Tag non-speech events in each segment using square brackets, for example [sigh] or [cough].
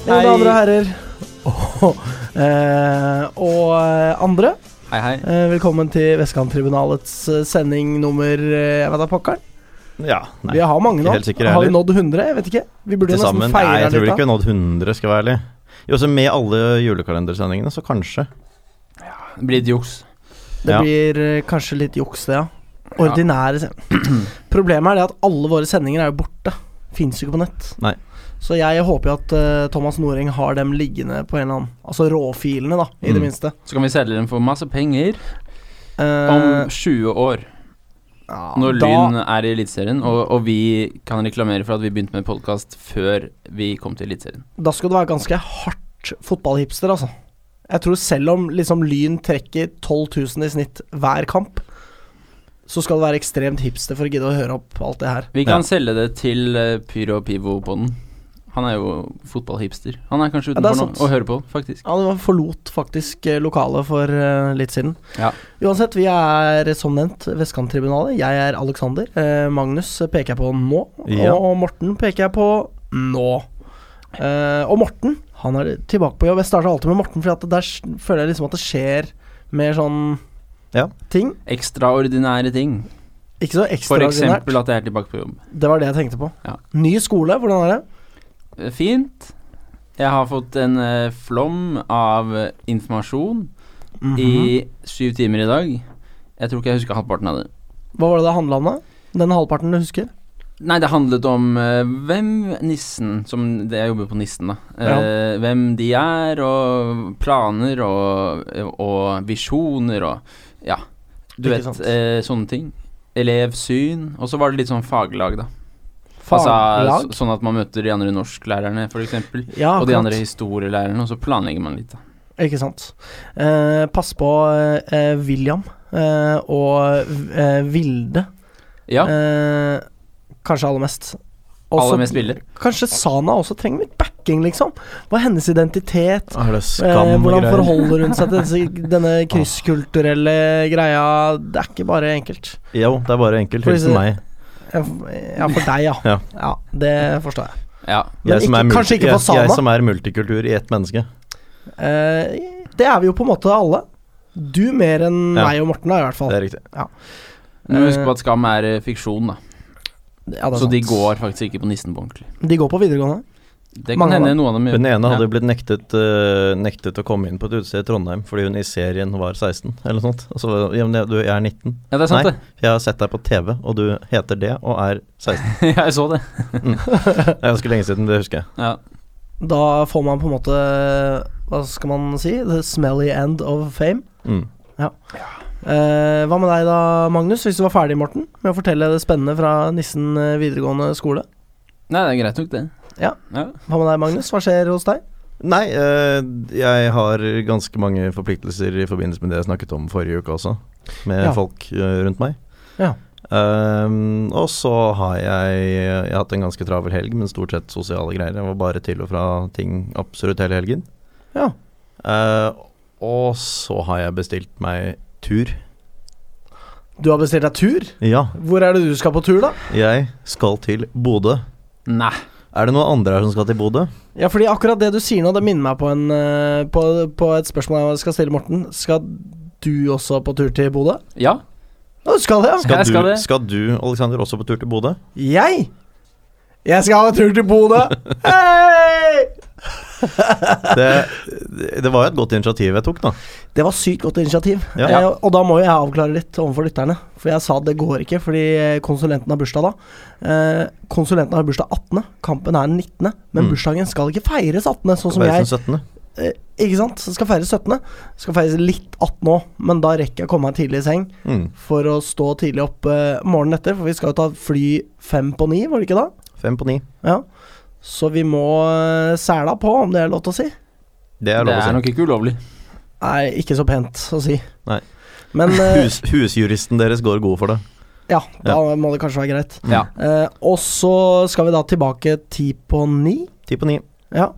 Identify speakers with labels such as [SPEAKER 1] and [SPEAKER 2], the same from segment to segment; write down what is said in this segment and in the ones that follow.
[SPEAKER 1] Mine
[SPEAKER 2] Hei.
[SPEAKER 1] damer og herrer [laughs] og, eh, og eh, andre,
[SPEAKER 2] Hei, hei.
[SPEAKER 1] eh, velkommen til Vestkanttribunalets eh, sending nummer eh, Jeg vet da pokkeren.
[SPEAKER 3] Ja, nei.
[SPEAKER 1] Vi har mange
[SPEAKER 3] ikke
[SPEAKER 1] nå.
[SPEAKER 3] helt sikker jeg
[SPEAKER 1] Har vi
[SPEAKER 3] heller.
[SPEAKER 1] nådd 100? Jeg vet ikke. Vi burde
[SPEAKER 3] Til
[SPEAKER 1] jo
[SPEAKER 3] sammen.
[SPEAKER 1] nesten
[SPEAKER 3] Nei,
[SPEAKER 1] feire
[SPEAKER 3] jeg
[SPEAKER 1] litt.
[SPEAKER 3] tror vel ikke
[SPEAKER 1] da.
[SPEAKER 3] vi har nådd 100, skal jeg være ærlig. Jo, så med alle julekalendersendingene, så kanskje.
[SPEAKER 2] Det blir litt juks.
[SPEAKER 1] Det
[SPEAKER 3] Ja.
[SPEAKER 1] blir eh, kanskje litt juks, det, ja. Ordinære sendinger. [clears throat] Problemet er det at alle våre sendinger er jo borte. Fins jo ikke på nett.
[SPEAKER 3] Nei.
[SPEAKER 1] Så jeg håper jo at eh, Thomas Noreng har dem liggende på en eller annen Altså råfilene, da, i det
[SPEAKER 3] Mm.
[SPEAKER 1] minste.
[SPEAKER 2] Så kan vi selge den for masse penger
[SPEAKER 1] Eh,
[SPEAKER 2] om 20 år.
[SPEAKER 1] ja,
[SPEAKER 2] Når
[SPEAKER 1] da-
[SPEAKER 2] Lyn er i Eliteserien, og, og vi kan reklamere for at vi begynte med podkast før vi kom til Eliteserien.
[SPEAKER 1] Da skal du være ganske hardt fotballhipster, altså. Jeg tror selv om liksom Lyn trekker 12 000 i snitt hver kamp, så skal du være ekstremt hipster for å gidde å høre opp alt det her.
[SPEAKER 2] Vi kan
[SPEAKER 3] Ja.
[SPEAKER 2] selge det til eh, Pyro Pivo Podden. Han er jo fotballhipster. Han er kanskje
[SPEAKER 1] Ja, det er
[SPEAKER 2] utenfor
[SPEAKER 1] sant.
[SPEAKER 2] nå og hører på, faktisk.
[SPEAKER 1] Ja, det forlot faktisk eh, lokalet for eh, litt siden.
[SPEAKER 2] Ja.
[SPEAKER 1] Uansett, vi er eh, som nevnt Vestkanttribunalet. Jeg er Alexander. Eh, Magnus peker jeg på nå,
[SPEAKER 3] Ja.
[SPEAKER 1] og Morten peker jeg på nå. Eh, og Morten, han er tilbake på jobb. Jeg starter alltid med Morten, for der s- føler jeg liksom at det skjer mer sånn
[SPEAKER 3] Ja.
[SPEAKER 1] ting.
[SPEAKER 2] Ekstraordinære ting.
[SPEAKER 1] Ikke så
[SPEAKER 2] For
[SPEAKER 1] ekstraordinært.
[SPEAKER 2] eksempel at jeg er tilbake på jobb.
[SPEAKER 1] Det var det jeg tenkte på.
[SPEAKER 2] Ja.
[SPEAKER 1] Ny skole, hvordan er det?
[SPEAKER 2] Eh, Fint. Jeg har fått en eh, flom av eh, informasjon
[SPEAKER 1] Mhm.
[SPEAKER 2] i syv timer i dag. Jeg tror ikke jeg husker halvparten av det.
[SPEAKER 1] Hva var det det handla om, da? Den halvparten du husker?
[SPEAKER 2] Nei, det handlet om eh, hvem nissen Som det jeg jobber på nissen, da. eh, Hvem de er, og planer og, og visjoner og Ja. Du
[SPEAKER 1] Ikke
[SPEAKER 2] vet,
[SPEAKER 1] sant.
[SPEAKER 2] eh, sånne ting. Elevsyn. Og så var det litt sånn faglag, da.
[SPEAKER 1] Faglag?
[SPEAKER 2] Altså, så- sånn at man møter de andre norsklærerne, f.eks.
[SPEAKER 1] ja,
[SPEAKER 2] Og de
[SPEAKER 1] akkurat.
[SPEAKER 2] andre historielærerne, og så planlegger man litt, da.
[SPEAKER 1] Ikke sant. Eh, pass på eh, William eh, og eh, Vilde.
[SPEAKER 2] Ja.
[SPEAKER 1] Eh, kanskje aller mest. Også-
[SPEAKER 2] Aller mest billig.
[SPEAKER 1] Kanskje Sana også trenger litt backing, liksom. Hva er hennes identitet?
[SPEAKER 3] Er det
[SPEAKER 1] Eh,
[SPEAKER 3] skam og
[SPEAKER 1] hvordan
[SPEAKER 3] greier?
[SPEAKER 1] forholder hun seg til disse, denne krysskulturelle greia? Det er ikke bare enkelt.
[SPEAKER 3] Jo, det er bare enkelt.
[SPEAKER 1] For
[SPEAKER 3] Hilsen
[SPEAKER 1] disse-
[SPEAKER 3] meg.
[SPEAKER 1] Ja, for- Ja, for deg, ja.
[SPEAKER 3] Ja.
[SPEAKER 1] ja. Det forstår jeg.
[SPEAKER 2] Ja.
[SPEAKER 1] Men
[SPEAKER 3] Jeg som
[SPEAKER 1] ikke-
[SPEAKER 3] er multi-
[SPEAKER 1] kanskje ikke for
[SPEAKER 3] jeg,
[SPEAKER 1] Sana?
[SPEAKER 3] jeg som er multikultur i ett menneske.
[SPEAKER 1] Eh, det er vi jo på en måte alle. Du mer enn
[SPEAKER 3] Ja.
[SPEAKER 1] meg og Morten, da, i hvert fall.
[SPEAKER 3] Det er riktig.
[SPEAKER 2] Men husk
[SPEAKER 1] Eh,
[SPEAKER 2] på at Skam er eh, fiksjon, da.
[SPEAKER 1] ja, det er
[SPEAKER 2] Så de
[SPEAKER 1] sant.
[SPEAKER 2] går faktisk ikke på nissen på ordentlig.
[SPEAKER 1] De går på videregående.
[SPEAKER 2] Det kan
[SPEAKER 1] Mange av
[SPEAKER 2] hende
[SPEAKER 1] dem.
[SPEAKER 2] noen av dem gjør
[SPEAKER 3] Hun ene
[SPEAKER 2] Ja.
[SPEAKER 3] hadde jo blitt nektet, eh, nektet å komme inn på et utested i Trondheim fordi hun i serien var 16, eller noe sånt. Og så ja, men jeg- du, jeg er 19.
[SPEAKER 2] Ja, det er sant,
[SPEAKER 3] Nei.
[SPEAKER 2] det.
[SPEAKER 3] Jeg har sett deg på TV, og du heter det og er 16.
[SPEAKER 2] jeg så det. [laughs]
[SPEAKER 3] Det er ganske lenge siden, det husker jeg.
[SPEAKER 2] Ja.
[SPEAKER 1] Da får man på en måte Hva skal man si? The smelly end of fame.
[SPEAKER 3] Mm.
[SPEAKER 1] Eh, hva med deg da, Magnus, hvis du var ferdig, Morten, med å fortelle det spennende fra Nissen eh, videregående skole?
[SPEAKER 2] Nei, det er greit nok, det.
[SPEAKER 1] Ja. Hva med deg, Magnus? Hva skjer hos deg?
[SPEAKER 3] Nei, eh, jeg har ganske mange forpliktelser i forbindelse med det jeg snakket om forrige uke også, med
[SPEAKER 1] Ja.
[SPEAKER 3] folk eh, rundt meg.
[SPEAKER 1] Ja.
[SPEAKER 3] Ehm, og så har jeg Jeg har hatt en ganske travel helg, men stort sett sosiale greier. Jeg var bare til og fra ting absolutt hele helgen.
[SPEAKER 1] Ja.
[SPEAKER 3] Eh, og så har jeg bestilt meg tur.
[SPEAKER 1] Du har bestilt deg tur?
[SPEAKER 3] Ja,
[SPEAKER 1] Hvor er det du skal på tur, da?
[SPEAKER 3] jeg skal til Bodø.
[SPEAKER 2] Nei.
[SPEAKER 3] Er det noen andre her som skal til Bodø?
[SPEAKER 1] Ja, fordi akkurat det du sier nå, det minner meg på, en, eh, på, på et spørsmål jeg skal stille Morten. Skal du også på tur til Bodø?
[SPEAKER 2] Ja.
[SPEAKER 1] Ja, du skal det, ja.
[SPEAKER 3] Skal,
[SPEAKER 2] Jeg skal
[SPEAKER 3] du,
[SPEAKER 2] det.
[SPEAKER 3] skal du, Alexander, også på tur til Bodø?
[SPEAKER 1] Jeg? Jeg skal ha tur til [laughs] Bodø! Hei!
[SPEAKER 3] Det, det var jo et godt initiativ jeg tok, da.
[SPEAKER 1] Det var sykt godt initiativ.
[SPEAKER 3] Ja.
[SPEAKER 1] Eh, og da må jo jeg avklare litt overfor lytterne. For jeg sa det går ikke, fordi konsulenten har bursdag da. Eh, konsulenten har bursdag 18., kampen er den 19., men
[SPEAKER 3] Mm.
[SPEAKER 1] bursdagen skal ikke feires 18., sånn som
[SPEAKER 3] Være
[SPEAKER 1] jeg.
[SPEAKER 3] som 17.
[SPEAKER 1] Eh, ikke sant? Så skal feires 17. Skal feires litt 18 òg, men da rekker jeg å komme meg tidlig i seng
[SPEAKER 3] Mm.
[SPEAKER 1] for å stå tidlig opp eh, morgenen etter. For vi skal jo ta fly fem på ni, var det ikke da?
[SPEAKER 3] Fem på ni.
[SPEAKER 1] Ja. Så vi må eh, sæla på, om det er lov til å si.
[SPEAKER 3] Det
[SPEAKER 2] det
[SPEAKER 3] er lov å
[SPEAKER 2] er
[SPEAKER 3] si.
[SPEAKER 2] nok ikke ulovlig.
[SPEAKER 1] Nei, ikke så pent å si.
[SPEAKER 3] Nei.
[SPEAKER 1] Men eh,
[SPEAKER 3] [laughs] Hus, husjuristen deres går god for det.
[SPEAKER 1] ja, da må det kanskje være greit.
[SPEAKER 3] Mm.
[SPEAKER 2] Ja.
[SPEAKER 1] Eh, og så skal vi da tilbake ti på ni.
[SPEAKER 3] Ti på ni.
[SPEAKER 1] Ja.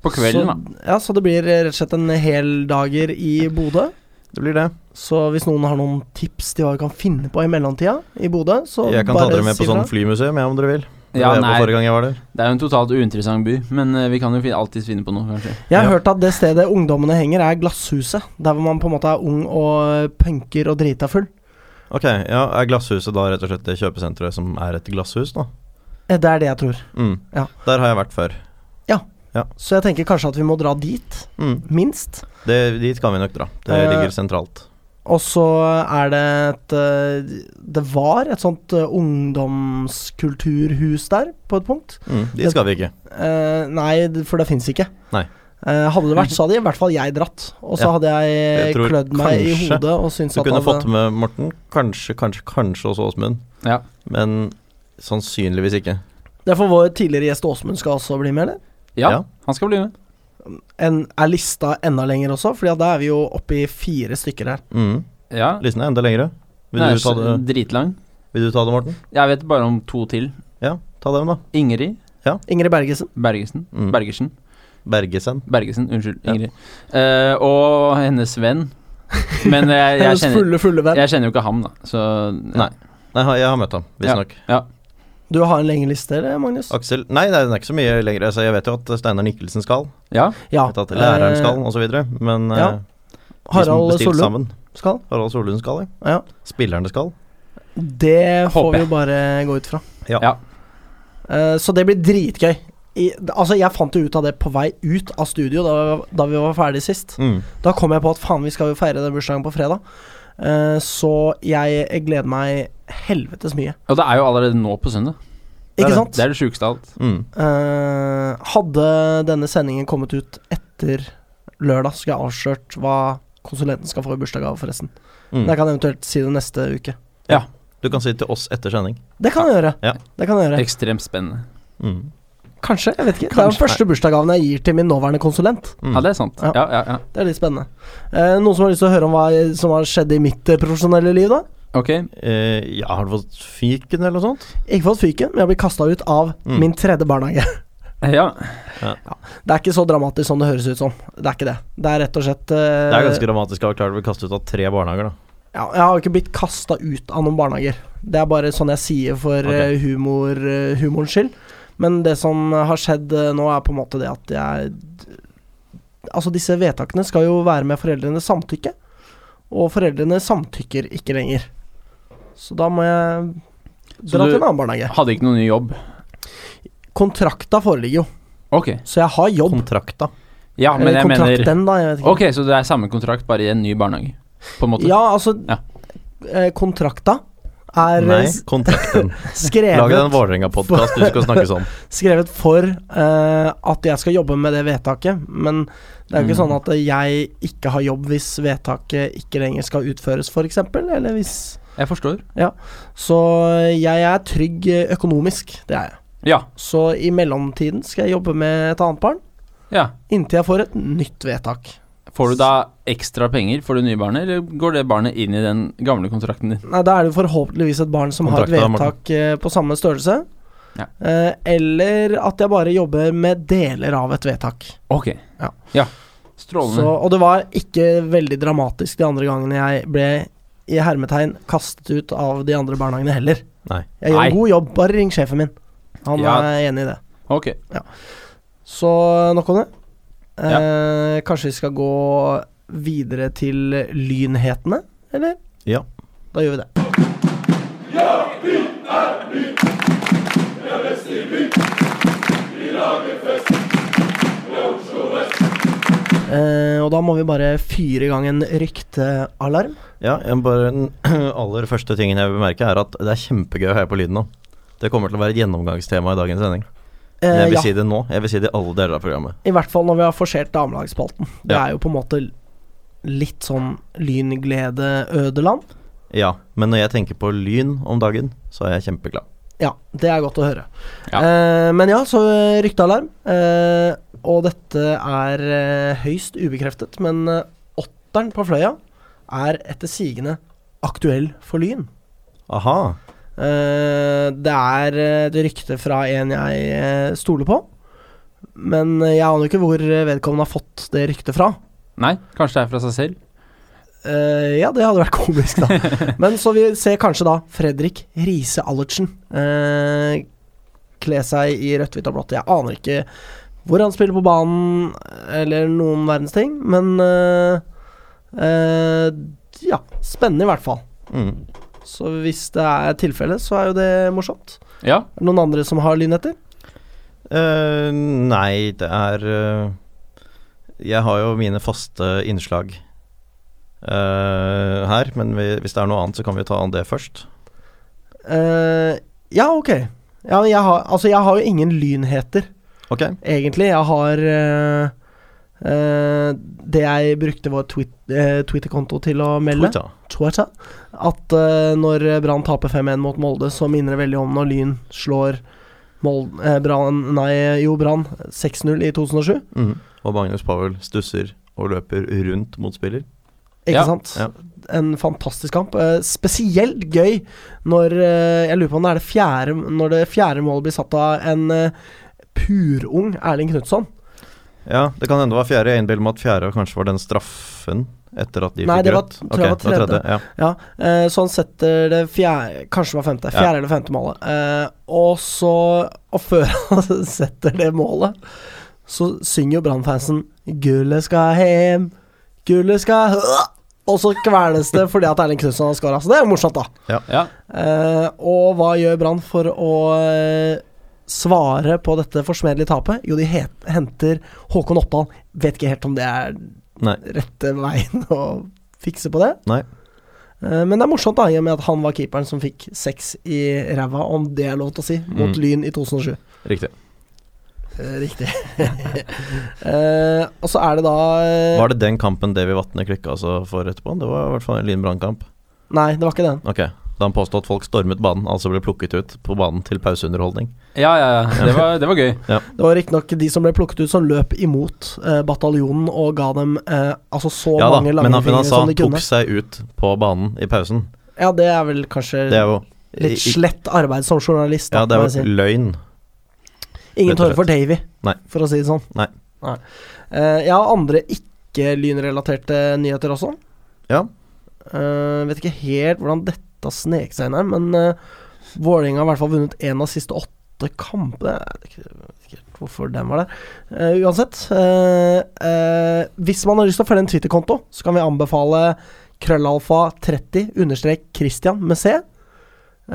[SPEAKER 2] På kvelden, da.
[SPEAKER 1] så, ja, så det blir eh, rett og slett en heldager i Bodø.
[SPEAKER 3] Det blir det.
[SPEAKER 1] Så hvis noen har noen tips til hva vi kan finne på i mellomtida i Bodø, så
[SPEAKER 3] Jeg kan ta
[SPEAKER 1] bare
[SPEAKER 3] dere med
[SPEAKER 1] si
[SPEAKER 3] på sånn
[SPEAKER 1] fra.
[SPEAKER 3] flymuseum, jeg, om dere vil. Det
[SPEAKER 2] Ja,
[SPEAKER 3] var jeg på
[SPEAKER 2] nei,
[SPEAKER 3] forrige gang jeg var der.
[SPEAKER 2] det er jo en totalt uinteressant by, men eh, vi kan jo fin alltid finne på noe, kanskje.
[SPEAKER 1] Jeg har
[SPEAKER 3] Ja.
[SPEAKER 1] hørt at det stedet ungdommene henger, er Glasshuset. Der hvor man på en måte er ung og eh, punker og drita full.
[SPEAKER 3] Ok, ja, Er Glasshuset da rett og slett det kjøpesenteret som er et glasshus, da?
[SPEAKER 1] Eh, Det er det jeg tror.
[SPEAKER 3] Mm.
[SPEAKER 1] Ja.
[SPEAKER 3] Der har jeg vært før.
[SPEAKER 1] Så jeg tenker kanskje at vi må dra dit,
[SPEAKER 3] Mm.
[SPEAKER 1] minst.
[SPEAKER 3] Det, dit kan vi nok dra. Det
[SPEAKER 1] Eh,
[SPEAKER 3] ligger sentralt.
[SPEAKER 1] Og så er det et eh, Det var et sånt eh, ungdomskulturhus der, på et punkt.
[SPEAKER 3] Mm. Dit skal vi ikke.
[SPEAKER 1] Eh, nei, d- for det fins ikke.
[SPEAKER 3] Nei.
[SPEAKER 1] Eh, hadde det vært, så hadde i hvert fall jeg dratt. Og så
[SPEAKER 3] Ja.
[SPEAKER 1] hadde jeg
[SPEAKER 3] Jeg tror
[SPEAKER 1] klødd meg i
[SPEAKER 3] kanskje
[SPEAKER 1] hodet og syntes
[SPEAKER 3] Du
[SPEAKER 1] at eh,
[SPEAKER 3] kunne
[SPEAKER 1] det-
[SPEAKER 3] fått med Morten. Kanskje, kanskje, kanskje også Åsmund.
[SPEAKER 2] Ja.
[SPEAKER 3] Men sannsynligvis ikke.
[SPEAKER 1] Det er for vår tidligere gjest Åsmund skal også bli med, eller?
[SPEAKER 2] Ja,
[SPEAKER 3] Ja.
[SPEAKER 2] han skal bli med.
[SPEAKER 1] En, er lista enda lenger også? Fordi at da er vi jo oppe i fire stykker her.
[SPEAKER 3] Mm.
[SPEAKER 2] Ja.
[SPEAKER 3] Listen er enda lengre. Vil,
[SPEAKER 2] Den er
[SPEAKER 3] du ta det,
[SPEAKER 2] så Dritlang.
[SPEAKER 3] vil du ta det, Morten?
[SPEAKER 2] Jeg vet bare om to til.
[SPEAKER 3] Ja, ta dem, da.
[SPEAKER 2] Ingrid
[SPEAKER 1] Ingrid Bergesen.
[SPEAKER 2] Bergesen.
[SPEAKER 3] Mm.
[SPEAKER 2] Bergersen.
[SPEAKER 3] Bergesen.
[SPEAKER 2] Bergesen, unnskyld.
[SPEAKER 3] Ja.
[SPEAKER 2] Ingrid. Eh, og hennes venn. Men jeg,
[SPEAKER 3] [laughs]
[SPEAKER 2] jeg,
[SPEAKER 1] Hennes
[SPEAKER 2] kjenner,
[SPEAKER 1] fulle, fulle venn.
[SPEAKER 2] jeg kjenner jo ikke ham, da. Så
[SPEAKER 3] Nei. Nei, ha- jeg har møtt ham, visstnok.
[SPEAKER 1] Du har en lengre liste, eller, Magnus?
[SPEAKER 3] Aksel Nei, nei, den er ikke så mye lenger. Altså, jeg vet jo at Steinar Nikkelsen skal.
[SPEAKER 2] Ja.
[SPEAKER 1] Ja.
[SPEAKER 3] Jeg vet at læreren
[SPEAKER 1] eh,
[SPEAKER 3] skal, osv. Men
[SPEAKER 1] ja.
[SPEAKER 3] eh, de som
[SPEAKER 1] Harald
[SPEAKER 3] bestilte
[SPEAKER 1] Solum
[SPEAKER 3] sammen
[SPEAKER 1] skal.
[SPEAKER 3] Harald Solund skal, ja.
[SPEAKER 1] Ja.
[SPEAKER 3] Spillerne skal.
[SPEAKER 1] Det får
[SPEAKER 2] Håper
[SPEAKER 1] vi jo
[SPEAKER 2] jeg.
[SPEAKER 1] bare gå ut fra.
[SPEAKER 3] Ja.
[SPEAKER 2] Ja.
[SPEAKER 1] Eh, så det blir dritgøy. I, altså, jeg fant jo ut av det på vei ut av studio da, da vi var ferdig sist.
[SPEAKER 3] Mm.
[SPEAKER 1] Da kom jeg på at faen, vi skal jo feire den bursdagen på fredag. Eh, så jeg gleder meg helvetes mye.
[SPEAKER 2] Og det er jo allerede nå på søndag.
[SPEAKER 3] Det er
[SPEAKER 1] Ikke
[SPEAKER 3] det.
[SPEAKER 1] sant?
[SPEAKER 2] Det er det sjukeste av alt.
[SPEAKER 3] Mm.
[SPEAKER 1] Eh, hadde denne sendingen kommet ut etter lørdag, skulle jeg avslørt hva konsulenten skal få i bursdagsgave, forresten.
[SPEAKER 3] Mm.
[SPEAKER 1] Men jeg kan eventuelt si det neste uke.
[SPEAKER 3] Du kan si det til oss etter sending.
[SPEAKER 1] Det kan jeg gjøre.
[SPEAKER 3] Ja.
[SPEAKER 1] Det kan jeg gjøre.
[SPEAKER 2] Ekstremt spennende.
[SPEAKER 3] Mm.
[SPEAKER 1] Kanskje. Jeg vet ikke. Det er den
[SPEAKER 3] Kanskje.
[SPEAKER 1] første bursdagsgaven jeg gir til min nåværende konsulent.
[SPEAKER 3] Mm.
[SPEAKER 2] Ja, det er sant.
[SPEAKER 1] Ja.
[SPEAKER 2] Ja, ja, ja.
[SPEAKER 1] Det er litt spennende. Eh, noen som har lyst til å høre om hva som har skjedd i mitt eh, profesjonelle liv, da?
[SPEAKER 2] Ok.
[SPEAKER 3] Eh, ja, har du fått fyken eller noe sånt?
[SPEAKER 1] Ikke fått fyken, men jeg blir kasta ut av
[SPEAKER 3] Mm.
[SPEAKER 1] min tredje barnehage. [laughs]
[SPEAKER 2] Ja.
[SPEAKER 1] Det er ikke så dramatisk som det høres ut som. Det er ikke det. Det er rett og slett eh,
[SPEAKER 3] Det er ganske dramatisk å ha klart å bli kastet ut av tre barnehager, da.
[SPEAKER 1] ja, Jeg har jo ikke blitt kasta ut av noen barnehager. Det er bare sånn jeg sier for
[SPEAKER 3] Ok.
[SPEAKER 1] eh, humor, eh, humorens skyld. Men det som har skjedd eh, nå, er på en måte det at jeg Altså, disse vedtakene skal jo være med foreldrenes samtykke, og foreldrene samtykker ikke lenger. Så da må jeg
[SPEAKER 2] Så
[SPEAKER 1] dra
[SPEAKER 2] du-
[SPEAKER 1] til en annen barnehage.
[SPEAKER 2] Hadde ikke noen ny jobb.
[SPEAKER 1] Kontrakta foreligger jo,
[SPEAKER 2] Ok.
[SPEAKER 1] så jeg har jobb.
[SPEAKER 3] Kontrakt, da.
[SPEAKER 2] Ja, men
[SPEAKER 1] Eller
[SPEAKER 2] jeg mener
[SPEAKER 1] kontrakten, da. Jeg vet ikke.
[SPEAKER 2] Ok, så det er samme kontrakt, bare i en ny barnehage? På en måte?
[SPEAKER 1] Ja, altså
[SPEAKER 2] Ja.
[SPEAKER 1] eh, Kontrakta er
[SPEAKER 3] Nei,
[SPEAKER 1] eh, s-
[SPEAKER 3] kontrakten. Lag deg en
[SPEAKER 1] skrevet,
[SPEAKER 3] Vålerenga-podkast du skal snakke sånn.
[SPEAKER 1] skrevet for eh, at jeg skal jobbe med det vedtaket, men det er jo ikke
[SPEAKER 2] Mm.
[SPEAKER 1] sånn at jeg ikke har jobb hvis vedtaket ikke lenger skal utføres, f.eks. Eller hvis
[SPEAKER 2] Jeg forstår.
[SPEAKER 1] Så jeg er trygg eh, økonomisk, det er jeg.
[SPEAKER 2] Ja.
[SPEAKER 1] Så i mellomtiden skal jeg jobbe med et annet barn,
[SPEAKER 2] ja.
[SPEAKER 1] inntil jeg får et nytt vedtak.
[SPEAKER 2] Får du da ekstra penger for det nye barnet, eller går det barnet inn i den gamle kontrakten din?
[SPEAKER 1] Nei, da er det forhåpentligvis et barn som har
[SPEAKER 3] Kontrakta,
[SPEAKER 1] et
[SPEAKER 3] Morten.
[SPEAKER 1] vedtak eh, på samme størrelse.
[SPEAKER 2] Ja.
[SPEAKER 1] Eh, eller at jeg bare jobber med deler av et vedtak.
[SPEAKER 2] Ok.
[SPEAKER 1] Ja. Så,
[SPEAKER 2] Strålende.
[SPEAKER 1] og det var ikke veldig dramatisk de andre gangene jeg ble i hermetegn kastet ut av de andre barnehagene heller.
[SPEAKER 3] Nei.
[SPEAKER 1] Jeg gjør
[SPEAKER 2] Nei.
[SPEAKER 1] en god jobb, bare ring sjefen min. Han
[SPEAKER 2] Ja.
[SPEAKER 1] er enig i det.
[SPEAKER 2] Ok.
[SPEAKER 1] Så nok om det. Eh, Kanskje vi skal gå videre til lynhetene, eller?
[SPEAKER 3] Ja.
[SPEAKER 1] Da gjør vi det. Eh, og da må vi bare fyre i gang en ryktealarm. Eh,
[SPEAKER 3] Ja, jeg bare den [clears throat] aller første tingen jeg vil bemerke, er at det er kjempegøy å heie på lyden nå. Det kommer til å være et gjennomgangstema i dagens sending. Men
[SPEAKER 1] Eh,
[SPEAKER 3] jeg vil
[SPEAKER 1] ja,
[SPEAKER 3] si det nå. Jeg vil si det i alle deler av programmet.
[SPEAKER 1] I hvert fall når vi har forsert damelagsspalten. Det
[SPEAKER 3] Ja.
[SPEAKER 1] er jo på en måte litt sånn lynglede-ødeland.
[SPEAKER 3] Ja, men når jeg tenker på lyn om dagen, så er jeg kjempeglad.
[SPEAKER 1] Ja, det er godt å høre.
[SPEAKER 2] Ja.
[SPEAKER 1] Eh, men ja, så eh, ryktealarm. Eh, og dette er eh, høyst ubekreftet, men eh, åtteren på Fløya er etter sigende aktuell for Lyn.
[SPEAKER 3] Aha.
[SPEAKER 1] Eh, det er eh, et rykte fra en jeg eh, stoler på, men eh, jeg aner jo ikke hvor eh, vedkommende har fått det ryktet fra.
[SPEAKER 2] Nei, kanskje det er fra seg selv?
[SPEAKER 1] Eh, ja, det hadde vært komisk, da. Men så vi ser kanskje da Fredrik Riise Allertsen. Eh, kle seg i rødt, hvitt og blått. Jeg aner ikke hvor han spiller på banen, eller noen verdens ting, men eh, eh, Ja, spennende i hvert fall.
[SPEAKER 3] Mm.
[SPEAKER 1] Så hvis det er tilfelle, så er jo det morsomt.
[SPEAKER 2] Ja.
[SPEAKER 1] Er det noen andre som har lynheter?
[SPEAKER 3] Eh, nei, det er eh, Jeg har jo mine faste innslag eh, her, men vi, hvis det er noe annet, så kan vi ta det først.
[SPEAKER 1] Eh, ja, ok. Ja, men jeg, har, altså, jeg har jo ingen lynheter,
[SPEAKER 3] Ok.
[SPEAKER 1] egentlig. Jeg har eh, eh, Det jeg brukte vår tweet, eh, Twitter-konto til å melde,
[SPEAKER 3] Twitter.
[SPEAKER 1] Twitter, at eh, når Brann taper 5-1 mot Molde, så minner det veldig om når Lyn slår Molde, eh, Brann Nei, jo, Brann 6-0 i 2007.
[SPEAKER 3] Mhm. Og Magnus Powell stusser og løper rundt motspiller.
[SPEAKER 1] Ikke
[SPEAKER 2] Ja,
[SPEAKER 1] sant?
[SPEAKER 3] ja.
[SPEAKER 1] En fantastisk kamp. Eh, spesielt gøy når eh, Jeg lurer på om det er det fjerde Når det fjerde målet blir satt av en eh, purung Erling Knutson.
[SPEAKER 3] Ja, det kan hende det var fjerde. Jeg innbiller meg at fjerde kanskje var den straffen etter at de
[SPEAKER 1] Nei,
[SPEAKER 3] fikk
[SPEAKER 1] det var-
[SPEAKER 3] rødt.
[SPEAKER 1] tror jeg
[SPEAKER 3] Ok,
[SPEAKER 1] var
[SPEAKER 3] det var
[SPEAKER 1] tredje.
[SPEAKER 3] Ja.
[SPEAKER 1] Ja, eh, så han setter det fjerde Kanskje det var femte. Fjerde eller femte målet. Eh, og så Og før [laughs] han setter det målet, så synger jo Brann-fansen 'Gullet skal hjem, gullet skal [laughs] hø-» Og så kveles det fordi at Erling Knutson har skåra. Så det er jo morsomt, da.
[SPEAKER 2] ja.
[SPEAKER 1] Eh, og hva gjør Brann for å eh, svare på dette forsmedelige tapet? Jo, de het, henter Håkon Oppdal. Vet ikke helt om det er
[SPEAKER 3] Nei.
[SPEAKER 1] rette veien å fikse på det.
[SPEAKER 3] Nei.
[SPEAKER 1] Eh, men det er morsomt, da, i og med at han var keeperen som fikk seks i ræva, om det er lov til å si, mot
[SPEAKER 3] Mm.
[SPEAKER 1] Lyn i 2007.
[SPEAKER 3] Riktig.
[SPEAKER 1] Eh, riktig. [laughs] Eh, og så er det da eh,
[SPEAKER 3] Var det den kampen Davy Vatne klikka altså for etterpå? Det var i hvert fall en Lyn Brannkamp.
[SPEAKER 1] Nei, det var ikke den.
[SPEAKER 3] Ok. Da han påstod at folk stormet banen, altså ble plukket ut på banen til pauseunderholdning.
[SPEAKER 2] Ja, ja, ja. Det var, det var gøy.
[SPEAKER 1] Det var riktignok de som ble plukket ut, som løp imot eh, bataljonen og ga dem eh, altså så
[SPEAKER 3] ja da,
[SPEAKER 1] mange
[SPEAKER 3] men
[SPEAKER 1] lange
[SPEAKER 3] han, men han
[SPEAKER 1] fingre
[SPEAKER 3] sa
[SPEAKER 1] som
[SPEAKER 3] han
[SPEAKER 1] de kunne.
[SPEAKER 3] tok seg ut på banen i pausen.
[SPEAKER 1] Ja, det er vel kanskje
[SPEAKER 3] Det er jo
[SPEAKER 1] Eh, litt
[SPEAKER 3] i- i-
[SPEAKER 1] slett arbeid som journalist. Da,
[SPEAKER 3] Ja, det er
[SPEAKER 1] må jeg
[SPEAKER 3] jo løgn.
[SPEAKER 1] si. Ingen
[SPEAKER 3] rett og
[SPEAKER 1] tårer for Davy,
[SPEAKER 3] Nei.
[SPEAKER 1] for å si det sånn.
[SPEAKER 3] Nei.
[SPEAKER 1] Eh, jeg har andre ikke-lynrelaterte nyheter også.
[SPEAKER 3] Ja.
[SPEAKER 1] Eh, vet ikke helt hvordan dette snek seg inn her, men uh, Vålerenga har i hvert fall vunnet én av siste åtte kampene. Jeg vet ikke helt hvorfor den var der. Eh, uansett. eh, eh, hvis man har lyst til å følge en Twitter-konto, så kan vi anbefale krøllalfa30 understrek Christian med C.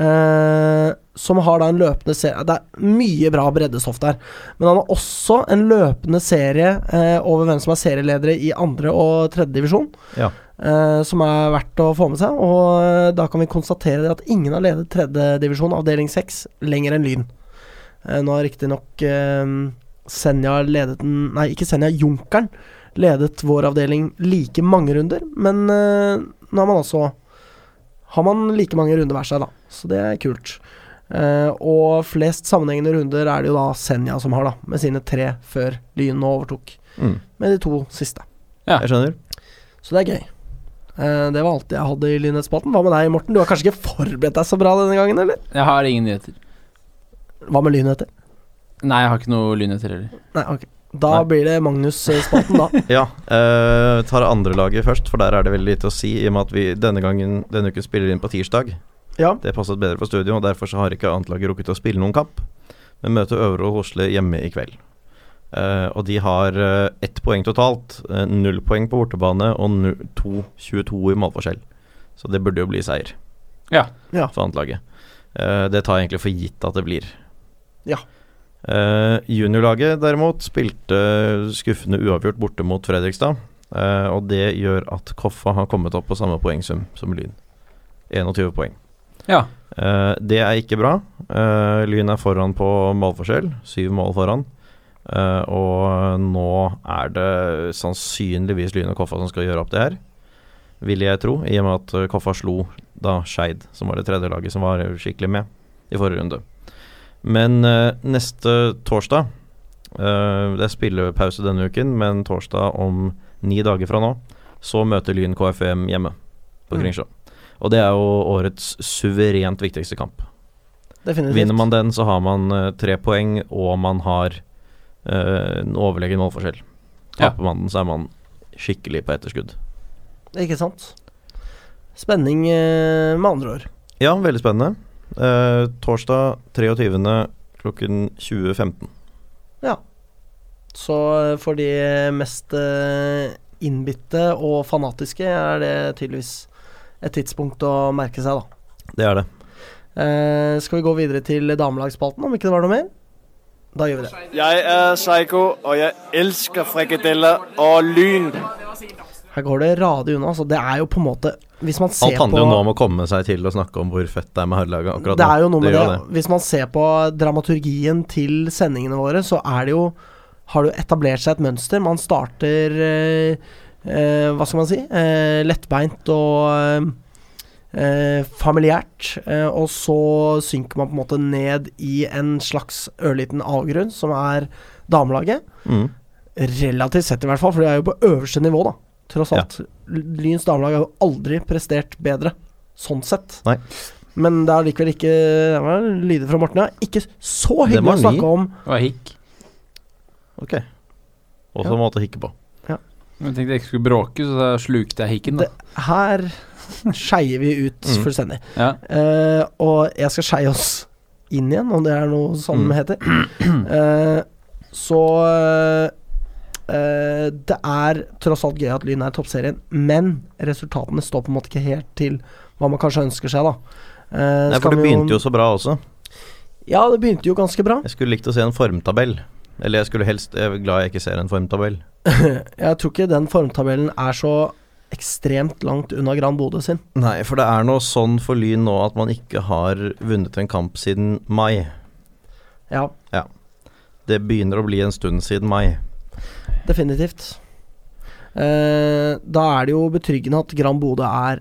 [SPEAKER 1] eh, som har da en løpende serie Det er mye bra breddestoff der. Men han har også en løpende serie eh, over hvem som er serieledere i andre- og tredjedivisjon.
[SPEAKER 3] Ja.
[SPEAKER 1] Eh, som er verdt å få med seg. Og eh, da kan vi konstatere det at ingen har ledet tredjedivisjon, avdeling seks, lenger enn Lyn. Eh, nå har riktignok eh, Senja ledet den Nei, ikke Senja, Junkeren ledet vår avdeling like mange runder, men eh, nå har man altså Har man like mange runder hver seg, da. Så det er kult. Eh, og flest sammenhengende runder er det jo da Senja som har, da. Med sine tre før Lyn nå overtok.
[SPEAKER 3] Mm.
[SPEAKER 1] Med de to siste.
[SPEAKER 2] Ja.
[SPEAKER 3] Jeg skjønner.
[SPEAKER 1] Så det er gøy. Eh, det var alt jeg hadde i Lynhetsspalten. Hva med deg, Morten? Du har kanskje ikke forberedt deg så bra denne gangen, eller?
[SPEAKER 2] Jeg har ingen nyheter.
[SPEAKER 1] Hva med lynheter?
[SPEAKER 2] Nei, jeg har ikke noe lynheter heller.
[SPEAKER 1] Nei, ok. Da
[SPEAKER 3] Nei.
[SPEAKER 1] blir det Magnus-spalten,
[SPEAKER 3] [laughs]
[SPEAKER 1] da.
[SPEAKER 3] Ja, eh, tar andrelaget først, for der er det veldig lite å si, i og med at vi denne gangen denne uken spiller inn på tirsdag.
[SPEAKER 1] ja.
[SPEAKER 3] Det passet bedre for studio, og derfor så har ikke annetlaget rukket å spille noen kamp, men møter Øvre Hosle hjemme i kveld. Eh, og de har eh, ett poeng totalt, eh, null poeng på bortebane og nu- to- 22 i målforskjell. Så det burde jo bli seier
[SPEAKER 2] Ja.
[SPEAKER 1] Ja.
[SPEAKER 3] for annetlaget. Eh, det tar jeg egentlig for gitt at det blir.
[SPEAKER 1] Ja.
[SPEAKER 3] Eh, juniorlaget derimot spilte eh, skuffende uavgjort borte mot Fredrikstad, eh, og det gjør at Koffa har kommet opp på samme poengsum som Lyn. 21 poeng.
[SPEAKER 2] Ja.
[SPEAKER 3] Eh, det er ikke bra. Eh, Lyn er foran på målforskjell, syv mål foran. Eh, og nå er det sannsynligvis Lyn og Koffa som skal gjøre opp det her, vil jeg tro. I og med at eh, Koffa slo da Skeid, som var det tredje laget som var skikkelig med i forrige runde. Men eh, neste torsdag eh, Det er spillepause denne uken, men torsdag om ni dager fra nå, så møter Lyn KFM hjemme på
[SPEAKER 1] Mm.
[SPEAKER 3] Kringsjå. Og det er jo årets suverent viktigste kamp.
[SPEAKER 1] Definitivt.
[SPEAKER 3] Vinner man den, så har man eh, tre poeng, og man har eh, en overlegen målforskjell.
[SPEAKER 2] Ja.
[SPEAKER 3] Taper man den, så er man skikkelig på etterskudd.
[SPEAKER 1] Ikke sant? Spenning, eh, med andre ord.
[SPEAKER 3] Ja, veldig spennende. Eh, torsdag 23. klokken 20.15.
[SPEAKER 1] Så eh, for de mest eh, innbitte og fanatiske er det tydeligvis et tidspunkt å merke seg, da.
[SPEAKER 3] Det er det.
[SPEAKER 1] Eh, skal vi gå videre til damelagsspalten, om ikke det var noe mer? Da gjør vi det.
[SPEAKER 4] Jeg er Psycho, og jeg elsker frikadeller og lyn.
[SPEAKER 1] Her går det radig unna. Altså, det er jo på en måte Hvis man ser
[SPEAKER 3] Alt
[SPEAKER 1] på
[SPEAKER 3] handler jo nå om å komme seg til å snakke om hvor fett det er med herrelaget akkurat
[SPEAKER 1] Det er jo noe med det,
[SPEAKER 3] gjør
[SPEAKER 1] Hvis man ser på dramaturgien til sendingene våre, så er det jo Har det jo etablert seg et mønster. Man starter eh, eh, Hva skal man si? Eh, lettbeint og eh, eh, familiært. Eh, og så synker man på en måte ned i en slags ørliten avgrunn, som er damelaget.
[SPEAKER 3] Mm.
[SPEAKER 1] Relativt sett, i hvert fall, for de er jo på øverste nivå, da. Tross
[SPEAKER 3] Ja.
[SPEAKER 1] alt. Lyns damelag har jo aldri prestert bedre, sånn sett.
[SPEAKER 3] Nei.
[SPEAKER 1] Men det er likevel ikke Det var lyder fra Morten, ja. Ikke så
[SPEAKER 3] Det
[SPEAKER 1] hyggelig
[SPEAKER 3] var
[SPEAKER 1] å
[SPEAKER 3] ny.
[SPEAKER 1] snakke om.
[SPEAKER 2] Det var hikk.
[SPEAKER 3] Ok. Også
[SPEAKER 1] Ja.
[SPEAKER 3] en måte å hikke på.
[SPEAKER 2] Jeg tenkte jeg ikke skulle bråke, så da slukte jeg hikken, da.
[SPEAKER 1] Her [laughs] skeier vi ut
[SPEAKER 3] Mm.
[SPEAKER 1] fullstendig.
[SPEAKER 2] Ja.
[SPEAKER 1] Eh, og jeg skal skeie oss inn igjen, om det er noe sånn
[SPEAKER 3] Mm.
[SPEAKER 1] det
[SPEAKER 3] [clears throat]
[SPEAKER 1] heter. Eh, så eh, det er tross alt gøy at Lyn er toppserien, men resultatene står på en måte ikke helt til hva man kanskje ønsker seg, da. Eh,
[SPEAKER 3] Nei,
[SPEAKER 1] skal
[SPEAKER 3] for det
[SPEAKER 1] vi
[SPEAKER 3] begynte jo så bra også.
[SPEAKER 1] Ja, det begynte jo ganske bra.
[SPEAKER 3] Jeg skulle likt å se en formtabell. Eller jeg skulle helst Jeg er glad jeg ikke ser en formtabell.
[SPEAKER 1] Jeg tror ikke den formtabellen er så ekstremt langt unna Gran Bodø sin.
[SPEAKER 3] Nei, for det er noe sånn for Lyn nå at man ikke har vunnet en kamp siden mai.
[SPEAKER 1] Ja,
[SPEAKER 3] Det begynner å bli en stund siden mai.
[SPEAKER 1] definitivt. Eh, da er det jo betryggende at Gran Bodø er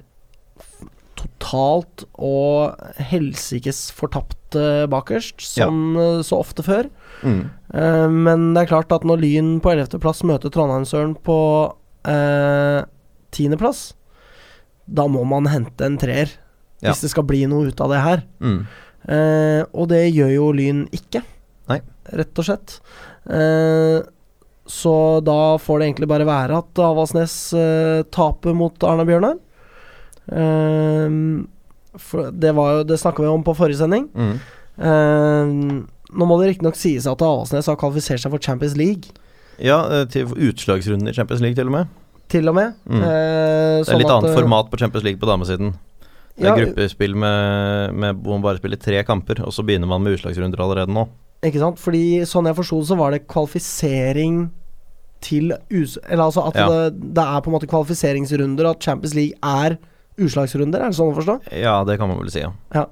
[SPEAKER 1] f- totalt og helsikes fortapt eh, bakerst, som eh, så ofte før. Eh, men det er klart at når Lyn på 11.-plass møter Trondheimsøren på eh, 10.-plass, da må man hente en treer
[SPEAKER 3] Ja.
[SPEAKER 1] hvis det skal bli noe ut av det her.
[SPEAKER 3] Mm.
[SPEAKER 1] Eh, og det gjør jo Lyn ikke,
[SPEAKER 3] Nei.
[SPEAKER 1] rett og slett. Eh, så da får det egentlig bare være at Avaldsnes eh, taper mot Arna Bjørnar. Eh, for det var jo, det snakka vi om på forrige sending.
[SPEAKER 3] Mm.
[SPEAKER 1] Eh, nå må det riktignok sies at Avaldsnes har kvalifisert seg for Champions League,
[SPEAKER 3] Ja, eh, til utslagsrunden i Champions League, til og med.
[SPEAKER 1] til og med.
[SPEAKER 3] Mm.
[SPEAKER 1] Eh,
[SPEAKER 3] Det er
[SPEAKER 1] sånn
[SPEAKER 3] litt
[SPEAKER 1] at,
[SPEAKER 3] annet
[SPEAKER 1] eh,
[SPEAKER 3] format på Champions League på damesiden. Det er
[SPEAKER 1] ja,
[SPEAKER 3] gruppespill med, med hvor man bare spiller tre kamper, og så begynner man med utslagsrunder allerede nå.
[SPEAKER 1] Ikke sant? Fordi sånn jeg forsto det, så var det kvalifisering til us Eller altså at
[SPEAKER 3] Ja.
[SPEAKER 1] det, det er på en måte kvalifiseringsrunder, og at Champions League er utslagsrunder, er det sånn å forstå?
[SPEAKER 3] Ja, det kan man vel si, ja.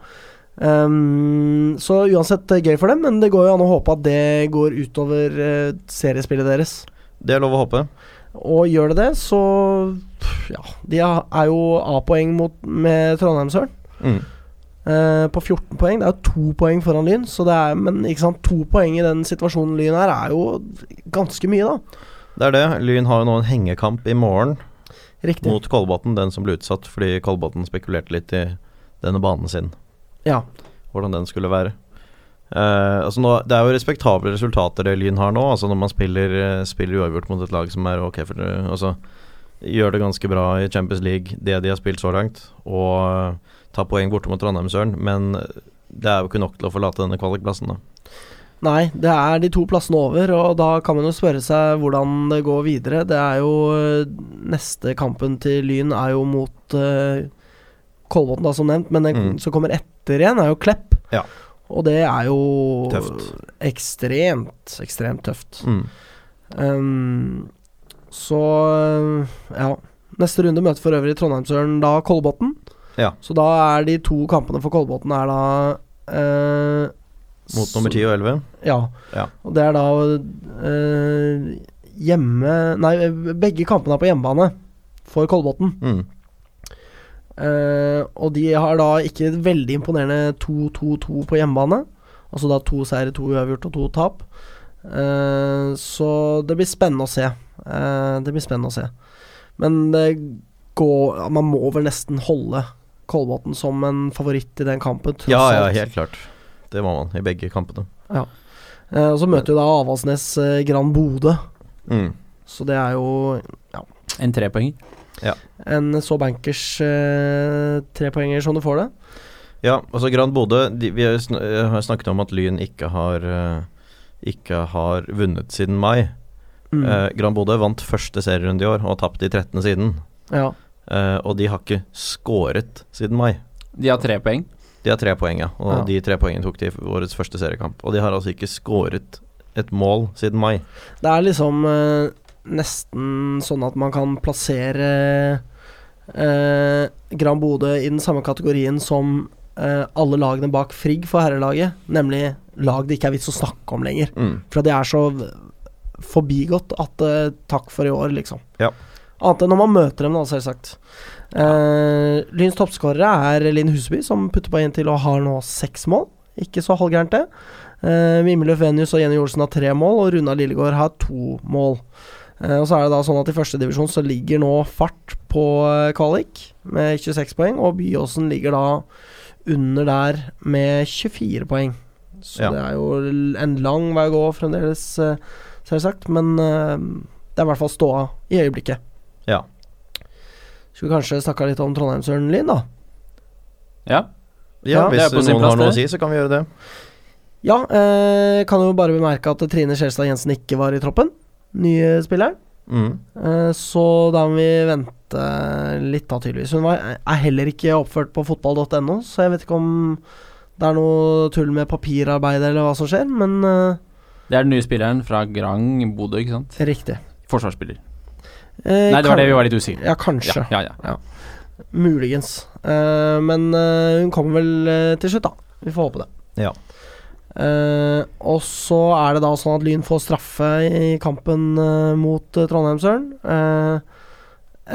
[SPEAKER 1] Ehm, så uansett eh, gøy for dem, men det går jo an å håpe at det går utover eh, seriespillet deres.
[SPEAKER 3] Det er lov å håpe.
[SPEAKER 1] Og gjør det det, så pff, Ja, de er er jo A-poeng mot- med Trondheimsøren.
[SPEAKER 3] Mm.
[SPEAKER 1] Eh, på 14 poeng. Det er jo to poeng foran Lyn, så det er, men ikke sant, to poeng i den situasjonen Lyn er, er jo ganske mye, da.
[SPEAKER 3] Det er det. Lyn har jo nå en hengekamp i morgen
[SPEAKER 1] Riktig.
[SPEAKER 3] mot Kolbotn, den som ble utsatt fordi Kolbotn spekulerte litt i denne banen sin,
[SPEAKER 1] Ja.
[SPEAKER 3] hvordan den skulle være. Eh, altså nå, det er jo respektable resultater det Lyn har nå, altså når man spiller, eh, spiller uavgjort mot et lag som er ok for det. Altså, gjør det ganske bra i Champions League, det de har spilt så langt, og eh, tar poeng borte mot Trondheimsøren, men det er jo ikke nok til å forlate denne kvalikplassen, da.
[SPEAKER 1] Nei, det er de to plassene over, og da kan man jo spørre seg hvordan det går videre. Det er jo eh, Neste kampen til Lyn er jo mot eh, Kolbotn, da, som nevnt, men den
[SPEAKER 3] Mm.
[SPEAKER 1] som kommer etter igjen, er jo Klepp.
[SPEAKER 3] Ja.
[SPEAKER 1] Og det er jo
[SPEAKER 3] Tøft.
[SPEAKER 1] ekstremt, ekstremt tøft.
[SPEAKER 3] Mm.
[SPEAKER 1] Ehm, så eh, ja. Neste runde møter for øvrig Trondheimsøren da Kolbotn.
[SPEAKER 3] Ja.
[SPEAKER 1] Så da er de to kampene for Kolbotn er da eh,
[SPEAKER 3] Mot nummer 10 og 11.
[SPEAKER 1] Ja.
[SPEAKER 3] Ja.
[SPEAKER 1] Og det er da eh, hjemme Nei, begge kampene er på hjemmebane for Kolbotn.
[SPEAKER 3] Mm.
[SPEAKER 1] Eh, og de har da ikke et veldig imponerende 2-2-2 på hjemmebane. Altså da to seire, to uavgjort og to tap. Eh, så det blir spennende å se. Eh, det blir spennende å se. Men det går ja, Man må vel nesten holde Kolbotn som en favoritt i den kampen, tross
[SPEAKER 3] Ja, ja,
[SPEAKER 1] alt.
[SPEAKER 3] helt klart. Det må man i begge kampene.
[SPEAKER 1] Eh, og så møter jo da Avaldsnes eh, Gran Bodø,
[SPEAKER 3] Mm.
[SPEAKER 1] så det er jo
[SPEAKER 2] En trepoenger.
[SPEAKER 1] en så bankers eh, trepoenger som du får det.
[SPEAKER 3] Ja, altså Grand Bodø de, Vi har sn- eh, har snakket om at Lyn ikke har eh, Ikke har vunnet siden mai.
[SPEAKER 1] Mm.
[SPEAKER 3] Eh, Grand Bodø vant første serierunde i år og har tapt i 13. siden.
[SPEAKER 1] ja.
[SPEAKER 3] Eh, og de har ikke scoret siden mai.
[SPEAKER 2] De har tre poeng.
[SPEAKER 3] De har tre poeng, ja. Og
[SPEAKER 1] Ja.
[SPEAKER 3] de tre poengene tok de i årets første seriekamp. Og de har altså ikke scoret et mål siden mai.
[SPEAKER 1] Det er liksom eh, nesten sånn at man kan plassere eh, Gran Bodø i den samme kategorien som eh, alle lagene bak Frigg for herrelaget, nemlig lag det ikke er vits å snakke om lenger.
[SPEAKER 3] Mm.
[SPEAKER 1] For det er så v- forbigått at eh, takk for i år, liksom.
[SPEAKER 3] Ja.
[SPEAKER 1] Annet enn når man møter dem, da, selvsagt. Eh, Lyns toppskårere er Linn Huseby, som putter på én til og har nå seks mål. Ikke så halvgærent, det. Eh, Mimmeløf Venius og Jenny Olsen har tre mål, og Runa Lillegård har to mål. Eh, og så er det da sånn at I førstedivisjon så ligger nå Fart på eh, kvalik med 26 poeng, og Byåsen ligger da under der med 24 poeng. Så
[SPEAKER 3] Ja.
[SPEAKER 1] det er jo l- en lang vei å gå fremdeles, eh, selvsagt, men eh, det er i hvert fall ståa i øyeblikket.
[SPEAKER 3] Ja.
[SPEAKER 1] Skulle kanskje snakka litt om Trondheimsørnen Lyn, da.
[SPEAKER 2] Ja.
[SPEAKER 3] Ja,
[SPEAKER 1] Ja.
[SPEAKER 2] Det
[SPEAKER 3] hvis
[SPEAKER 2] er på sin
[SPEAKER 3] noen
[SPEAKER 2] plass,
[SPEAKER 3] har noe å
[SPEAKER 2] det.
[SPEAKER 3] si, så kan vi gjøre det.
[SPEAKER 1] Ja, eh, kan jo bare bemerke at Trine Skjelstad Jensen ikke var i troppen. Nye spilleren.
[SPEAKER 3] Mm.
[SPEAKER 1] Eh, så da må vi vente litt, da, tydeligvis. Hun var, er heller ikke oppført på fotball.no, så jeg vet ikke om det er noe tull med papirarbeidet eller hva som skjer, men eh,
[SPEAKER 2] Det er den nye spilleren fra Grang Bodø, ikke sant?
[SPEAKER 1] riktig.
[SPEAKER 2] Forsvarsspiller.
[SPEAKER 1] Eh,
[SPEAKER 2] Nei, det var
[SPEAKER 1] kan-
[SPEAKER 2] det vi var litt usikre på.
[SPEAKER 1] Ja, kanskje.
[SPEAKER 2] Ja, ja, ja.
[SPEAKER 1] Muligens. Eh, men eh, hun kommer vel eh, til slutt, da. Vi får håpe det.
[SPEAKER 3] Ja.
[SPEAKER 1] Eh, og så er det da sånn at Lyn får straffe i kampen eh, mot eh, Trondheimsøren. Eh,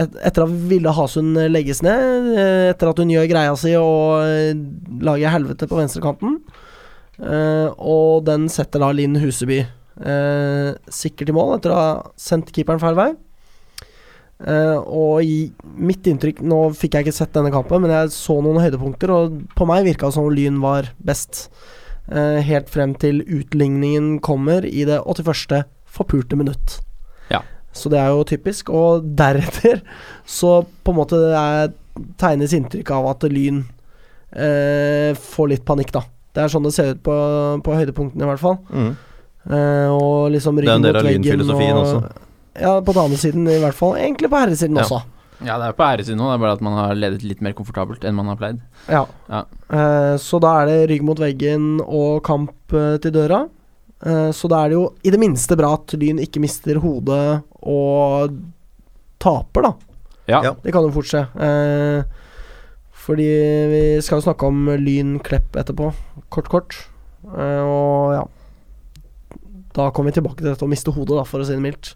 [SPEAKER 1] et, etter at Ville Hasund legges ned, eh, etter at hun gjør greia si og eh, lager helvete på venstrekanten. Eh, og den setter da Linn Huseby eh, sikkert i mål etter å ha sendt keeperen feil vei. Eh, og i mitt inntrykk Nå fikk jeg ikke sett denne kampen, men jeg så noen høydepunkter, og på meg virka det som Lyn var best. Eh, helt frem til utligningen kommer i det 81. forpurte minutt.
[SPEAKER 2] Ja.
[SPEAKER 1] Så det er jo typisk. Og deretter så på en måte det er, tegnes inntrykk av at Lyn eh, får litt panikk, da. Det er sånn det ser ut på, på høydepunktene, i hvert fall.
[SPEAKER 3] Mm.
[SPEAKER 1] Eh, og liksom
[SPEAKER 3] Det er
[SPEAKER 1] ryggen mot
[SPEAKER 3] en del av
[SPEAKER 1] veggen.
[SPEAKER 3] lynfilosofien
[SPEAKER 1] og-
[SPEAKER 3] også.
[SPEAKER 1] Ja, på damesiden i hvert fall. Egentlig på herresiden
[SPEAKER 3] Ja.
[SPEAKER 1] også.
[SPEAKER 2] Ja, det er på æresiden nå, det er bare at man har ledet litt mer komfortabelt enn man har pleid.
[SPEAKER 1] Ja.
[SPEAKER 2] Ja.
[SPEAKER 1] Eh, så da er det rygg mot veggen og kamp eh, til døra. Eh, så da er det jo i det minste bra at Lyn ikke mister hodet og taper, da.
[SPEAKER 2] Ja.
[SPEAKER 3] Ja.
[SPEAKER 1] Det kan jo fort skje. Eh, fordi vi skal jo snakke om Lyn Klepp etterpå. Kort, kort. Eh, og ja Da kommer vi tilbake til dette å miste hodet, da, for å si det mildt.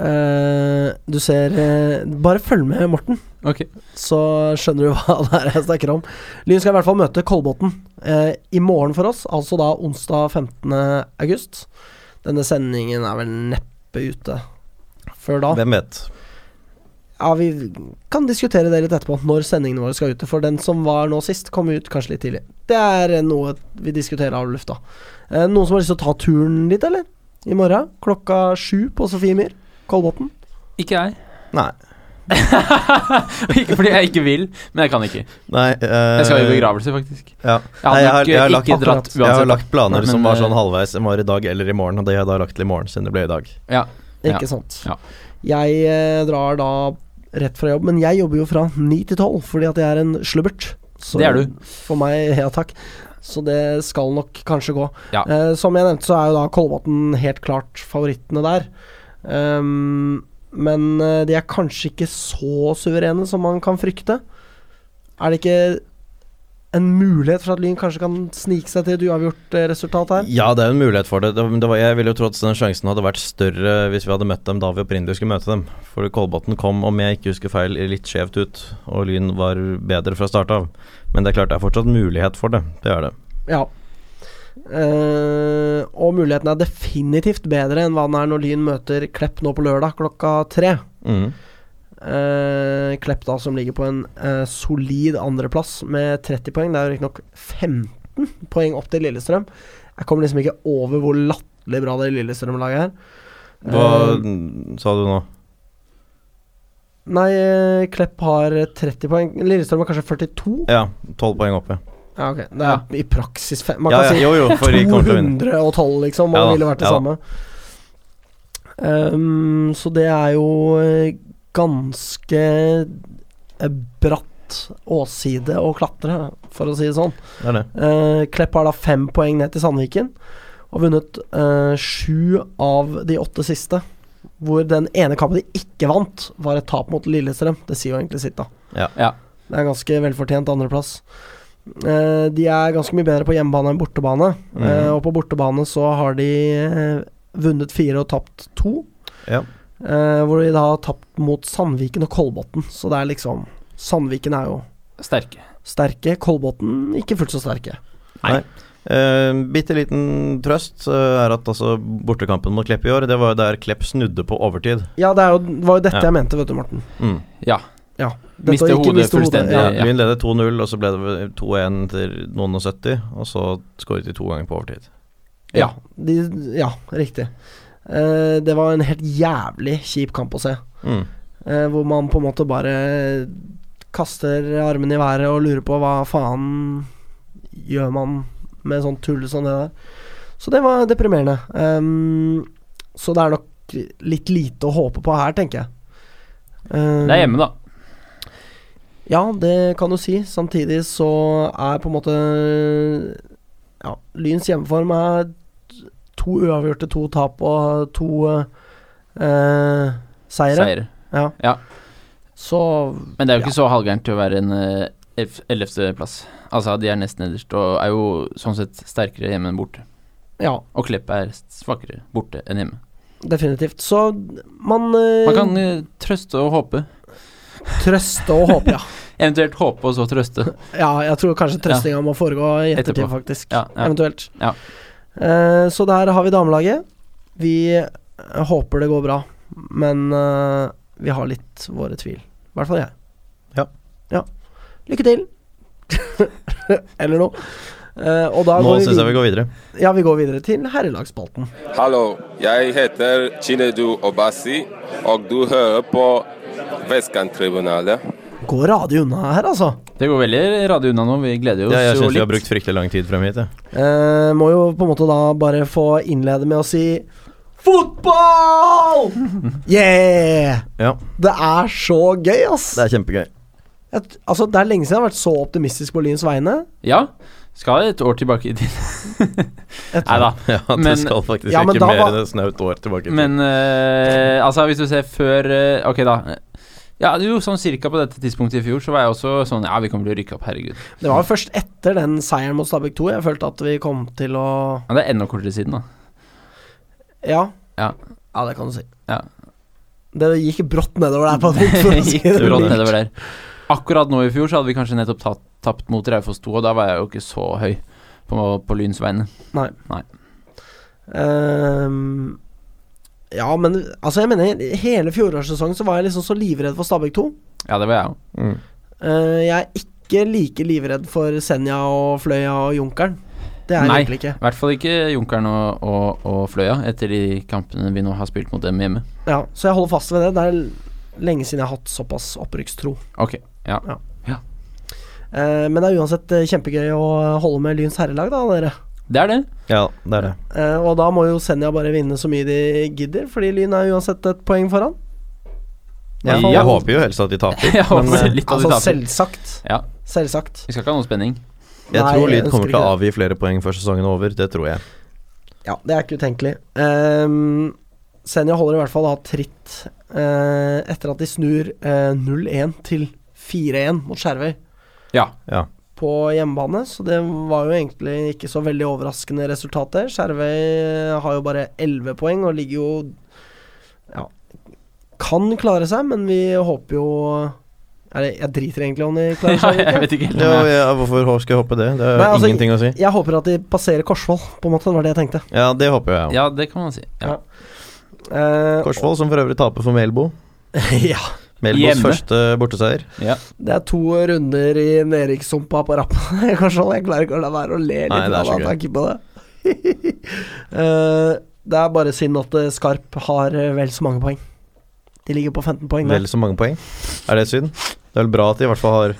[SPEAKER 1] Eh, du ser eh, Bare følg med, Morten
[SPEAKER 2] Ok.
[SPEAKER 1] så skjønner du [laughs] hva det er jeg snakker om. Lyn skal i hvert fall møte Kolbotn eh, i morgen for oss, altså da onsdag 15. august. Denne sendingen er vel neppe ute før da.
[SPEAKER 3] Hvem vet.
[SPEAKER 1] Ja, vi kan diskutere det litt etterpå, når sendingene våre skal ute. For den som var nå sist, kom ut kanskje litt tidlig. Det er eh, noe vi diskuterer av lufta. Eh, noen som har lyst til å ta turen dit, eller? I morgen klokka sju på Sofiemyr, Kolbotn.
[SPEAKER 2] Ikke jeg. [laughs]
[SPEAKER 3] Nei.
[SPEAKER 2] ikke fordi jeg ikke vil, men jeg kan ikke.
[SPEAKER 3] Nei eh,
[SPEAKER 2] Jeg skal i begravelse, faktisk.
[SPEAKER 3] Ja.
[SPEAKER 2] Jeg hadde
[SPEAKER 3] Nei, jeg har-
[SPEAKER 2] nok,
[SPEAKER 3] jeg har
[SPEAKER 2] eh,
[SPEAKER 3] lagt-
[SPEAKER 2] ikke dratt
[SPEAKER 1] akkurat.
[SPEAKER 2] uansett.
[SPEAKER 3] Jeg har lagt planer
[SPEAKER 2] Men,
[SPEAKER 3] som var
[SPEAKER 2] eh,
[SPEAKER 3] sånn halvveis, som var i dag eller i morgen. Og det har jeg da lagt til i morgen, siden det ble i dag.
[SPEAKER 2] Ja.
[SPEAKER 1] Ikke sant.
[SPEAKER 2] Ja.
[SPEAKER 1] Jeg eh, drar da rett fra jobb, men jeg jobber jo fra ni til tolv fordi at jeg er en slubbert. Så
[SPEAKER 2] Det er du.
[SPEAKER 1] For meg, [laughs] ja takk. Så det skal nok kanskje gå.
[SPEAKER 2] Ja.
[SPEAKER 1] Eh, som jeg nevnte, så er jo da Kolbotn helt klart favorittene der. Ehm, men eh, de er kanskje ikke så suverene som man kan frykte. Er det ikke en mulighet for at Lyn kanskje kan snike seg til et uavgjort eh, resultat her?
[SPEAKER 3] Ja, det er jo en mulighet for det. det, det var, jeg ville jo tro at den sjansen hadde vært større hvis vi hadde møtt dem da vi opprinnelig skulle møte dem. For Kolbotn kom, om jeg ikke husker feil, litt skjevt ut, og Lyn var bedre fra start av. Men det er klart det er fortsatt mulighet for det. Det er det.
[SPEAKER 1] Ja. Eh, og muligheten er definitivt bedre enn hva den er når Lyn møter Klepp nå på lørdag klokka tre.
[SPEAKER 3] Mm.
[SPEAKER 1] Eh, Klepp da som ligger på en eh, solid andreplass med 30 poeng. Det er jo riktignok 15 poeng opp til Lillestrøm. Jeg kommer liksom ikke over hvor latterlig Eh, bra det Lillestrøm-laget er.
[SPEAKER 3] Hva
[SPEAKER 1] Eh,
[SPEAKER 3] sa du nå?
[SPEAKER 1] Nei, eh, Klepp har 30 poeng. Lillestrøm har kanskje 42?
[SPEAKER 3] Ja, tolv poeng oppe.
[SPEAKER 1] Ja, ok. Det er i praksis fem. Man
[SPEAKER 3] Ja,
[SPEAKER 1] kan
[SPEAKER 3] ja,
[SPEAKER 1] si
[SPEAKER 3] jo, jo, for de kommer til å vinne.
[SPEAKER 1] 212, liksom, og
[SPEAKER 3] Ja da,
[SPEAKER 1] det ville vært det
[SPEAKER 3] ja da.
[SPEAKER 1] samme. Ehm, så det er jo eh, ganske eh, bratt åsside å klatre, for å si det sånn.
[SPEAKER 3] Det er det.
[SPEAKER 1] Eh, Klepp har da fem poeng ned til Sandviken, og vunnet eh, sju av de åtte siste. Hvor den ene kampen de ikke vant, var et tap mot Lillestrøm. Det sier jo egentlig sitt, da.
[SPEAKER 3] Ja.
[SPEAKER 2] Ja.
[SPEAKER 1] Det er ganske velfortjent andreplass. Eh, de er ganske mye bedre på hjemmebane enn bortebane.
[SPEAKER 3] Mhm.
[SPEAKER 1] Eh, og på bortebane så har de eh, vunnet fire og tapt to.
[SPEAKER 3] Ja.
[SPEAKER 1] Eh, hvor de da har tapt mot Sandviken og Kolbotn. Så det er liksom Sandviken er jo
[SPEAKER 2] Sterke.
[SPEAKER 1] sterke, Kolbotn ikke fullt så sterke.
[SPEAKER 3] Eh, Bitte liten trøst eh, er at altså bortekampen mot Klepp i år, det var jo der Klepp snudde på overtid.
[SPEAKER 1] Ja, det er jo, det var jo dette
[SPEAKER 3] Ja.
[SPEAKER 1] jeg mente, vet du, Morten.
[SPEAKER 3] Mm.
[SPEAKER 2] Ja.
[SPEAKER 1] Ja.
[SPEAKER 2] Miste
[SPEAKER 1] å ikke
[SPEAKER 2] hodet fullstendig.
[SPEAKER 1] Ja.
[SPEAKER 3] Ja,
[SPEAKER 2] ja.
[SPEAKER 3] Lyn leder 2-0, og så ble det vel 2-1 etter noen og 70, og så skåret de to ganger på overtid.
[SPEAKER 1] Ja, de, ja riktig. Eh, det var en helt jævlig kjip kamp å se.
[SPEAKER 3] Mm.
[SPEAKER 1] Eh, hvor man på en måte bare kaster armene i været og lurer på hva faen gjør man med sånt tull som det der. Så det var deprimerende. Ehm, så det er nok litt lite å håpe på her, tenker jeg. Ehm,
[SPEAKER 2] Det er hjemme, da.
[SPEAKER 1] Ja, det kan du si. Samtidig så er på en måte Ja, Lyns hjemmeform er to uavgjorte, to tap og to eh, eh, seire.
[SPEAKER 2] Seier.
[SPEAKER 1] Ja.
[SPEAKER 2] Ja.
[SPEAKER 1] Så
[SPEAKER 2] Men det er jo ikke så halvgærent til å være en eh, ellevteplass. Altså, de er nesten nederst, og er jo sånn sett sterkere hjemme enn borte.
[SPEAKER 1] ja,
[SPEAKER 2] Og Klepp er svakere borte enn hjemme.
[SPEAKER 1] definitivt. Så man, eh,
[SPEAKER 2] Man kan eh, trøste og håpe.
[SPEAKER 1] trøste og håpe, ja.
[SPEAKER 2] Eventuelt håpe og så trøste.
[SPEAKER 1] Ja, jeg tror kanskje trøstinga må foregå i ettertid,
[SPEAKER 2] Etterpå.
[SPEAKER 1] faktisk.
[SPEAKER 2] Ja, ja.
[SPEAKER 1] Eventuelt.
[SPEAKER 2] Ja.
[SPEAKER 1] Eh, så der har vi damelaget. Vi eh, håper det går bra, men eh, vi har litt våre tvil. I hvert fall jeg.
[SPEAKER 3] Ja.
[SPEAKER 1] Ja. Lykke til! [laughs] Eller noe. Eh, og da
[SPEAKER 3] Nå
[SPEAKER 1] går vi,
[SPEAKER 3] syns jeg vi
[SPEAKER 1] vid-
[SPEAKER 3] går videre.
[SPEAKER 1] ja, vi går videre til herrelagsspalten.
[SPEAKER 5] Hallo, jeg heter Chinedu Obasi, og du hører på Vestkanttribunalet.
[SPEAKER 1] Går radig unna her, altså.
[SPEAKER 2] Det går veldig radio unna nå, vi gleder oss
[SPEAKER 3] Ja, jeg
[SPEAKER 2] jo
[SPEAKER 3] syns vi
[SPEAKER 2] litt.
[SPEAKER 3] har brukt fryktelig lang tid frem hit. jeg.
[SPEAKER 1] Eh, må jo på en måte da bare få innlede med å si
[SPEAKER 3] [laughs]
[SPEAKER 1] Fotball! Yeah!
[SPEAKER 3] Ja,
[SPEAKER 1] Det er så gøy, ass!
[SPEAKER 3] det er kjempegøy.
[SPEAKER 1] Jeg t- altså, det er lenge siden jeg har vært så optimistisk på Lyns vegne.
[SPEAKER 2] Ja, skal et år tilbake i
[SPEAKER 3] [laughs]
[SPEAKER 2] tid.
[SPEAKER 1] Jeg
[SPEAKER 2] Nei da.
[SPEAKER 3] [laughs] Ja, Du
[SPEAKER 2] Men-
[SPEAKER 3] skal faktisk
[SPEAKER 1] Ja, men
[SPEAKER 3] ikke
[SPEAKER 1] da
[SPEAKER 3] mer
[SPEAKER 1] var-
[SPEAKER 3] enn et snaut år tilbake. i tid.
[SPEAKER 2] Men eh, altså, hvis du ser før eh, Ok, da. Ja, jo, sånn cirka på dette tidspunktet i fjor, så var jeg også sånn Ja, vi kommer til å rykke opp, herregud.
[SPEAKER 1] Det var jo først etter den seieren mot Stabæk 2 jeg følte at vi kom til å
[SPEAKER 2] Ja, det er enda kortere siden,
[SPEAKER 3] [laughs]
[SPEAKER 2] da.
[SPEAKER 1] Ja.
[SPEAKER 2] Ja.
[SPEAKER 1] Ja, det kan du si.
[SPEAKER 2] Ja.
[SPEAKER 1] Det gikk brått nedover der. på et punkt,
[SPEAKER 2] [laughs]
[SPEAKER 1] for å si
[SPEAKER 2] Gikk
[SPEAKER 1] det
[SPEAKER 2] brått
[SPEAKER 1] mildt.
[SPEAKER 2] nedover der. Akkurat nå i fjor så hadde vi kanskje nettopp tatt, tapt mot Raufoss 2, og da var jeg jo ikke så høy på, på Lyns vegne.
[SPEAKER 1] Ehm, ja, men altså, jeg mener, hele fjorårssesongen så var jeg liksom så livredd for Stabæk 2.
[SPEAKER 2] Ja, det var jeg òg.
[SPEAKER 3] Mm.
[SPEAKER 1] Eh, jeg er ikke like livredd for Senja og Fløya og Junkeren. Det er jeg
[SPEAKER 2] Nei.
[SPEAKER 1] egentlig ikke.
[SPEAKER 2] I hvert fall ikke Junkeren og, og, og Fløya, etter de kampene vi nå har spilt mot dem hjemme.
[SPEAKER 1] Ja, så jeg holder fast ved det. Det er lenge siden jeg har hatt såpass opprykkstro.
[SPEAKER 2] Ok, ja.
[SPEAKER 1] Eh, men det er uansett eh, kjempegøy å holde med Lyns herrelag, da, dere.
[SPEAKER 2] Det er det. [laughs]
[SPEAKER 3] Ja, det er det.
[SPEAKER 1] Eh, og da må jo Senja bare vinne så mye de gidder, fordi Lyn er uansett et poeng foran.
[SPEAKER 3] Ja,
[SPEAKER 2] Ja.
[SPEAKER 3] jeg håper jo helst at de taper.
[SPEAKER 2] Jeg håper
[SPEAKER 3] men, eh,
[SPEAKER 2] litt av
[SPEAKER 1] Altså,
[SPEAKER 2] de taper.
[SPEAKER 1] selvsagt.
[SPEAKER 2] Ja.
[SPEAKER 1] Selvsagt.
[SPEAKER 2] Vi skal ikke ha noe spenning.
[SPEAKER 3] Jeg
[SPEAKER 1] Nei,
[SPEAKER 3] tror
[SPEAKER 1] jeg
[SPEAKER 3] Lyd kommer
[SPEAKER 1] ønsker
[SPEAKER 3] til å
[SPEAKER 1] ikke
[SPEAKER 3] avgi flere poeng før sesongen er over. Det tror jeg.
[SPEAKER 1] Ja, det er ikke utenkelig. Ehm, Senja holder i hvert fall da tritt eh, etter at de snur eh, 0-1 til 4-1 mot Skjervøy.
[SPEAKER 2] Ja.
[SPEAKER 3] Ja.
[SPEAKER 1] På hjemmebane, så det var jo egentlig ikke så veldig overraskende resultat der. Skjervøy eh, har jo bare 11 poeng og ligger jo Ja, kan klare seg, men vi håper jo er det, Jeg driter egentlig om de klarer
[SPEAKER 2] [laughs] Ja, [laughs]
[SPEAKER 1] seg. eller
[SPEAKER 2] jeg
[SPEAKER 1] ikke.
[SPEAKER 2] vet ikke helt.
[SPEAKER 3] Ja,
[SPEAKER 2] om jeg-
[SPEAKER 3] ja, hvorfor skal jeg hoppe det? Det er
[SPEAKER 1] Nei, altså,
[SPEAKER 3] ingenting å si.
[SPEAKER 1] Jeg håper at de passerer Korsvoll, på en måte. Det var det jeg tenkte.
[SPEAKER 3] Ja, det håper jeg òg.
[SPEAKER 2] Ja, det kan man si. Ja.
[SPEAKER 1] Eh,
[SPEAKER 3] Korsvoll, som for øvrig taper for Melbo.
[SPEAKER 1] ja.
[SPEAKER 3] Melbos
[SPEAKER 2] Hjemme.
[SPEAKER 3] første borteseier.
[SPEAKER 2] Ja.
[SPEAKER 1] Det er to runder i nedrikssumpa på rappen. [laughs] Jeg, kan skjønne, jeg klarer ikke å la være å le litt
[SPEAKER 3] Nei, det er
[SPEAKER 1] av
[SPEAKER 3] så
[SPEAKER 1] det,
[SPEAKER 3] gøy.
[SPEAKER 1] tanken på det. [laughs] Eh, det er bare synd at eh, Skarp har eh, vel så mange poeng. De ligger på 15 poeng. nå.
[SPEAKER 3] Vel så mange poeng. Er det synd? Det er vel bra at de i hvert fall har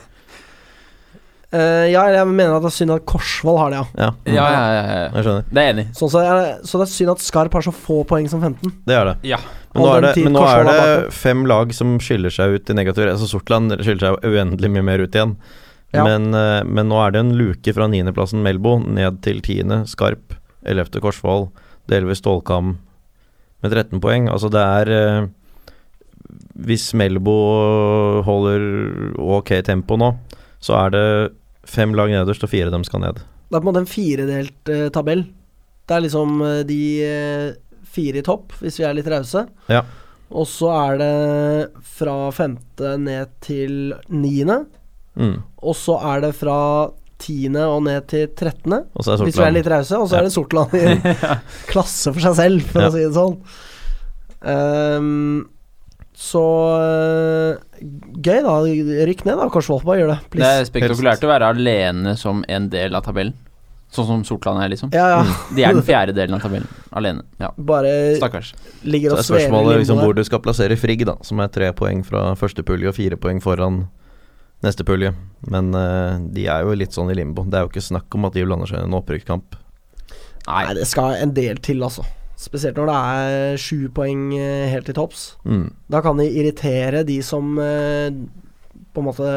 [SPEAKER 1] Eh, ja, jeg mener at det er synd at Korsvoll har det, ja.
[SPEAKER 3] Ja, mm.
[SPEAKER 2] Ja, ja, ja, ja.
[SPEAKER 3] jeg skjønner.
[SPEAKER 2] Det er jeg enig. i.
[SPEAKER 1] Sånn så, er det, så det er synd at Skarp har så få poeng som 15.
[SPEAKER 3] Det er det.
[SPEAKER 2] Ja.
[SPEAKER 3] Men nå
[SPEAKER 1] All
[SPEAKER 3] er det,
[SPEAKER 1] den tid
[SPEAKER 3] men nå
[SPEAKER 1] Korsvoll
[SPEAKER 3] er det
[SPEAKER 1] har bak
[SPEAKER 3] fem lag som skiller seg ut i negativ Altså Sortland skiller seg jo uendelig mye mer ut igjen.
[SPEAKER 1] Ja.
[SPEAKER 3] Men, eh, men nå er det en luke fra niendeplassen Melbo ned til tiende Skarp. Ellevte Korsvoll. Delvis Stålkam med 13 poeng. Altså det er eh, Hvis Melbo holder ok tempo nå, så er det fem lag nederst, og fire av dem skal ned.
[SPEAKER 1] Det er på en måte en firedelt eh, tabell. Det er liksom eh, de eh, fire i topp, hvis vi er litt rause.
[SPEAKER 3] Ja.
[SPEAKER 1] Og så er det fra femte ned til niende.
[SPEAKER 3] Mm.
[SPEAKER 1] Og så er det fra tiende og ned til trettende.
[SPEAKER 3] Og så er
[SPEAKER 1] Hvis vi er
[SPEAKER 3] Sortland
[SPEAKER 1] litt rause, og så er det Sortland
[SPEAKER 3] [laughs]
[SPEAKER 1] i en klasse for seg selv, for
[SPEAKER 3] Ja.
[SPEAKER 1] å si det sånn. Ehm, så eh, gøy, da. Rykk ned, da. Korsvoll, bare gjør det,
[SPEAKER 2] Det
[SPEAKER 1] please.
[SPEAKER 2] er spektakulært å være alene som en del av tabellen. Sånn som Sortland er, liksom.
[SPEAKER 1] Ja, ja.
[SPEAKER 3] Mm.
[SPEAKER 2] De er den fjerde delen av tabellen. Alene. Ja.
[SPEAKER 1] Bare
[SPEAKER 2] Stakkars.
[SPEAKER 1] ligger
[SPEAKER 3] Så
[SPEAKER 1] og
[SPEAKER 3] er
[SPEAKER 1] svever i
[SPEAKER 3] spørsmålet
[SPEAKER 1] limbo
[SPEAKER 3] liksom,
[SPEAKER 1] der.
[SPEAKER 3] hvor du skal plassere Frigg, da, som er tre poeng fra første pulje og fire poeng foran neste pulje. Men eh, de er jo litt sånn i limbo. Det er jo ikke snakk om at de blander seg i en opprykkskamp.
[SPEAKER 2] Nei.
[SPEAKER 1] Nei, det skal en del til, altså. Spesielt når det er sju poeng eh, helt til topps.
[SPEAKER 3] Mm.
[SPEAKER 1] Da kan de irritere de som eh, på en måte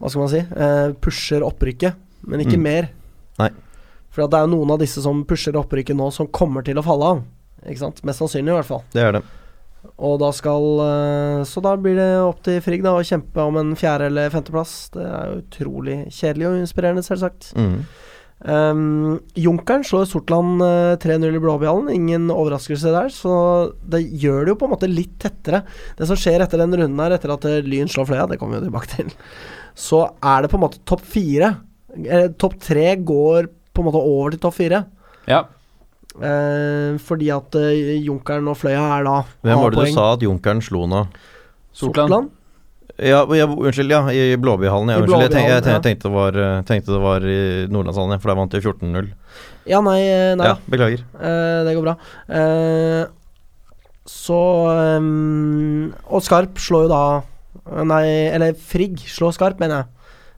[SPEAKER 1] Hva skal man si? eh, Pusher opprykket, men ikke
[SPEAKER 3] Mm.
[SPEAKER 1] mer.
[SPEAKER 3] Nei.
[SPEAKER 1] For at det er noen av disse som pusher opprykket nå, som kommer til å falle av. Ikke sant? Mest sannsynlig, i hvert fall.
[SPEAKER 3] Det er det.
[SPEAKER 1] Og da skal eh, Så da blir det opp til Frigg da å kjempe om en fjerde- eller femteplass. Det er jo utrolig kjedelig og inspirerende, selvsagt.
[SPEAKER 3] Mm.
[SPEAKER 1] Um, Junkeren slår Sortland eh, 3-0 i Blåbjallen. Ingen overraskelse der, så det gjør det jo på en måte litt tettere. Det som skjer etter den runden her, etter at eh, Lyn slår Fløya, det kommer vi jo tilbake til, så er det på en måte topp fire. Eh, topp tre går på en måte over til topp fire.
[SPEAKER 2] Ja.
[SPEAKER 1] Eh, fordi at eh, Junkeren og Fløya er da
[SPEAKER 3] Hvem var det du sa at Junkeren slo nå?
[SPEAKER 2] Sortland.
[SPEAKER 3] Ja, ja, unnskyld, ja, i Blåbyhallen. Ja,
[SPEAKER 1] I
[SPEAKER 3] unnskyld, jeg, tenk, jeg,
[SPEAKER 1] Blåbyhallen,
[SPEAKER 3] tenk- tenkte, det var, eh, tenkte det var i Nordlandshallen, ja, for der vant de 14-0.
[SPEAKER 1] Ja, nei, eh, nei da.
[SPEAKER 3] Ja, beklager.
[SPEAKER 1] Eh, det går bra. Eh, så ehm, Og Skarp slår jo da Nei, eller Frigg slår Skarp, mener jeg.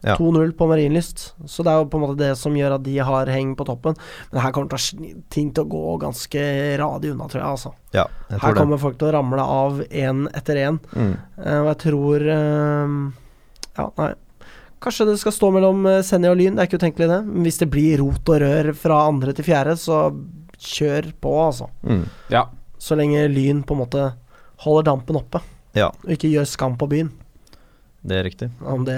[SPEAKER 3] Ja.
[SPEAKER 1] 2-0 på Marienlyst. Så det er jo på en måte det som gjør at de har heng på toppen. Men her kommer til å sni- ting til å gå ganske radig unna, tror jeg. Altså.
[SPEAKER 3] Ja,
[SPEAKER 1] Her
[SPEAKER 3] jeg tror det.
[SPEAKER 1] kommer folk til å ramle av én etter én.
[SPEAKER 3] Mm.
[SPEAKER 1] Eh, og jeg tror ehm, Ja, nei. Kanskje det skal stå mellom eh, Senja og Lyn, det er ikke utenkelig det. Men hvis det blir rot og rør fra andre til fjerde, så kjør på, altså.
[SPEAKER 3] Mm.
[SPEAKER 2] Ja.
[SPEAKER 1] Så lenge Lyn på en måte holder dampen oppe,
[SPEAKER 3] Ja,
[SPEAKER 1] og ikke gjør skam på byen.
[SPEAKER 3] det er riktig.
[SPEAKER 1] Om det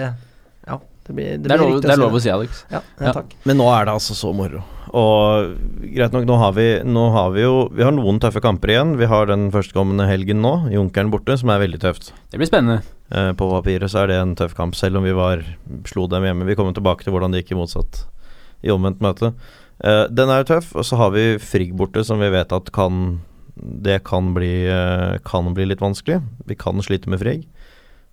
[SPEAKER 1] Ja, det blir, det
[SPEAKER 2] Det er
[SPEAKER 1] blir
[SPEAKER 2] lov,
[SPEAKER 1] riktig
[SPEAKER 2] det er
[SPEAKER 1] å
[SPEAKER 2] lov å
[SPEAKER 1] si.
[SPEAKER 2] si, Alex.
[SPEAKER 1] det. Ja, ja,
[SPEAKER 2] Ja.
[SPEAKER 1] takk.
[SPEAKER 3] Men nå er det altså så moro. Og greit nok, nå har vi, nå har vi jo Vi har noen tøffe kamper igjen. Vi har den førstkommende helgen nå, Junkeren borte, som er veldig tøft.
[SPEAKER 2] Det blir spennende.
[SPEAKER 3] Eh, på papiret så er det en tøff kamp, selv om vi var, slo dem hjemme. Vi kommer tilbake til hvordan det gikk i motsatt i omvendt møte. Eh, den er jo tøff, og så har vi Frigg borte, som vi vet at kan Det kan bli, eh, kan bli litt vanskelig. Vi kan slite med Frigg.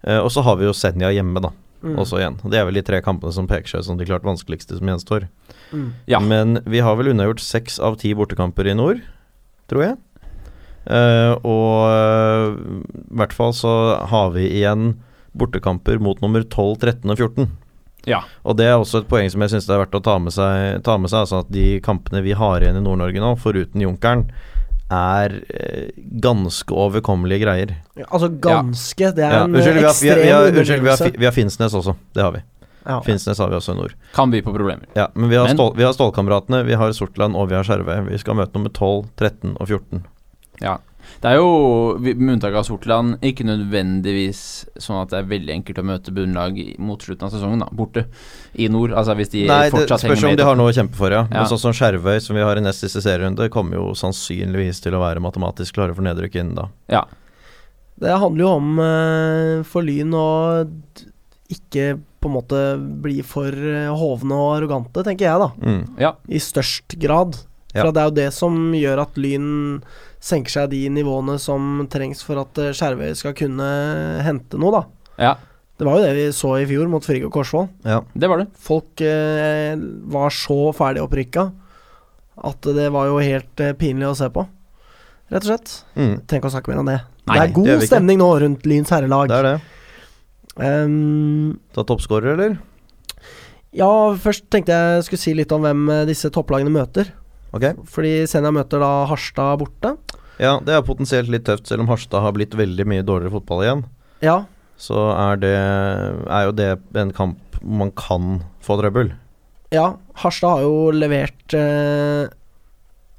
[SPEAKER 3] Eh, og så har vi jo Senja hjemme, da,
[SPEAKER 1] Mm.
[SPEAKER 3] også igjen. Det er vel de tre kampene som peker seg ut som de klart vanskeligste som gjenstår.
[SPEAKER 1] Mm.
[SPEAKER 2] Ja.
[SPEAKER 3] Men vi har vel unnagjort seks av ti bortekamper i nord, tror jeg. Eh, og eh, i hvert fall så har vi igjen bortekamper mot nummer 12, 13 og 14.
[SPEAKER 2] Ja.
[SPEAKER 3] Og det er også et poeng som jeg syns det er verdt å ta med seg. Ta med seg altså at de kampene vi har igjen i Nord-Norge nå, foruten Junkeren, er eh, ganske overkommelige greier.
[SPEAKER 1] Ja, Altså ganske Det er
[SPEAKER 3] Ja,
[SPEAKER 1] en eh,
[SPEAKER 3] unnskyld, vi har, vi har,
[SPEAKER 1] ekstrem
[SPEAKER 3] vi har, unnskyld, vi har,
[SPEAKER 1] underdrivelse.
[SPEAKER 3] Fi- vi har Finnsnes også. Det har vi.
[SPEAKER 1] Ja.
[SPEAKER 3] Finnsnes har vi også i nord.
[SPEAKER 2] Kan by på problemer.
[SPEAKER 3] Ja, men vi har,
[SPEAKER 2] Men-
[SPEAKER 3] stål, vi har Stålkameratene, vi har Sortland og vi har Skjervøy. Vi skal møte nummer 12, 13 og 14.
[SPEAKER 2] Det er jo, vi- med unntak av Sortland, ikke nødvendigvis sånn at det er veldig enkelt å møte bunnlag i- mot slutten av sesongen, da. Borte i nord. Altså hvis de
[SPEAKER 3] Nei, det
[SPEAKER 2] fortsatt
[SPEAKER 3] spørs
[SPEAKER 2] henger
[SPEAKER 3] om
[SPEAKER 2] med.
[SPEAKER 3] de
[SPEAKER 2] i
[SPEAKER 3] har noe å kjempe for, ja.
[SPEAKER 2] Ja.
[SPEAKER 3] Men sånn som Skjervøy, som vi har i nest siste serierunde, kommer jo sannsynligvis til å være matematisk klare for nedrykk innen da.
[SPEAKER 2] toppen. Ja.
[SPEAKER 1] Det handler jo om eh, for Lyn å d- ikke på en måte bli for eh, hovne og arrogante, tenker jeg, da.
[SPEAKER 3] Mm.
[SPEAKER 1] I størst grad.
[SPEAKER 3] Ja.
[SPEAKER 1] For at det er jo det som gjør at Lyn senker seg de nivåene som trengs for at eh, Skjervøy skal kunne hente noe, da.
[SPEAKER 2] ja.
[SPEAKER 1] Det var jo det vi så i fjor mot Frigg og Korsvoll.
[SPEAKER 3] Ja.
[SPEAKER 2] Det var det.
[SPEAKER 1] Folk eh, var så ferdig opprykka at det var jo helt eh, pinlig å se på. rett og slett.
[SPEAKER 3] Mm.
[SPEAKER 1] Trenger ikke å snakke mer om det.
[SPEAKER 3] Nei,
[SPEAKER 1] det
[SPEAKER 3] det
[SPEAKER 1] er god
[SPEAKER 3] gjør vi ikke.
[SPEAKER 1] stemning nå rundt Lyns herrelag.
[SPEAKER 3] Det er det.
[SPEAKER 1] Ehm,
[SPEAKER 3] Ta toppskårer, eller?
[SPEAKER 1] ja, først tenkte jeg skulle si litt om hvem eh, disse topplagene møter.
[SPEAKER 3] Ok.
[SPEAKER 1] Fordi Senja møter da Harstad borte.
[SPEAKER 3] Ja, det er potensielt litt tøft, selv om Harstad har blitt veldig mye dårligere fotball igjen.
[SPEAKER 1] Ja,
[SPEAKER 3] Så er, det, er jo det en kamp man kan få trøbbel.
[SPEAKER 1] ja Harstad har jo levert eh,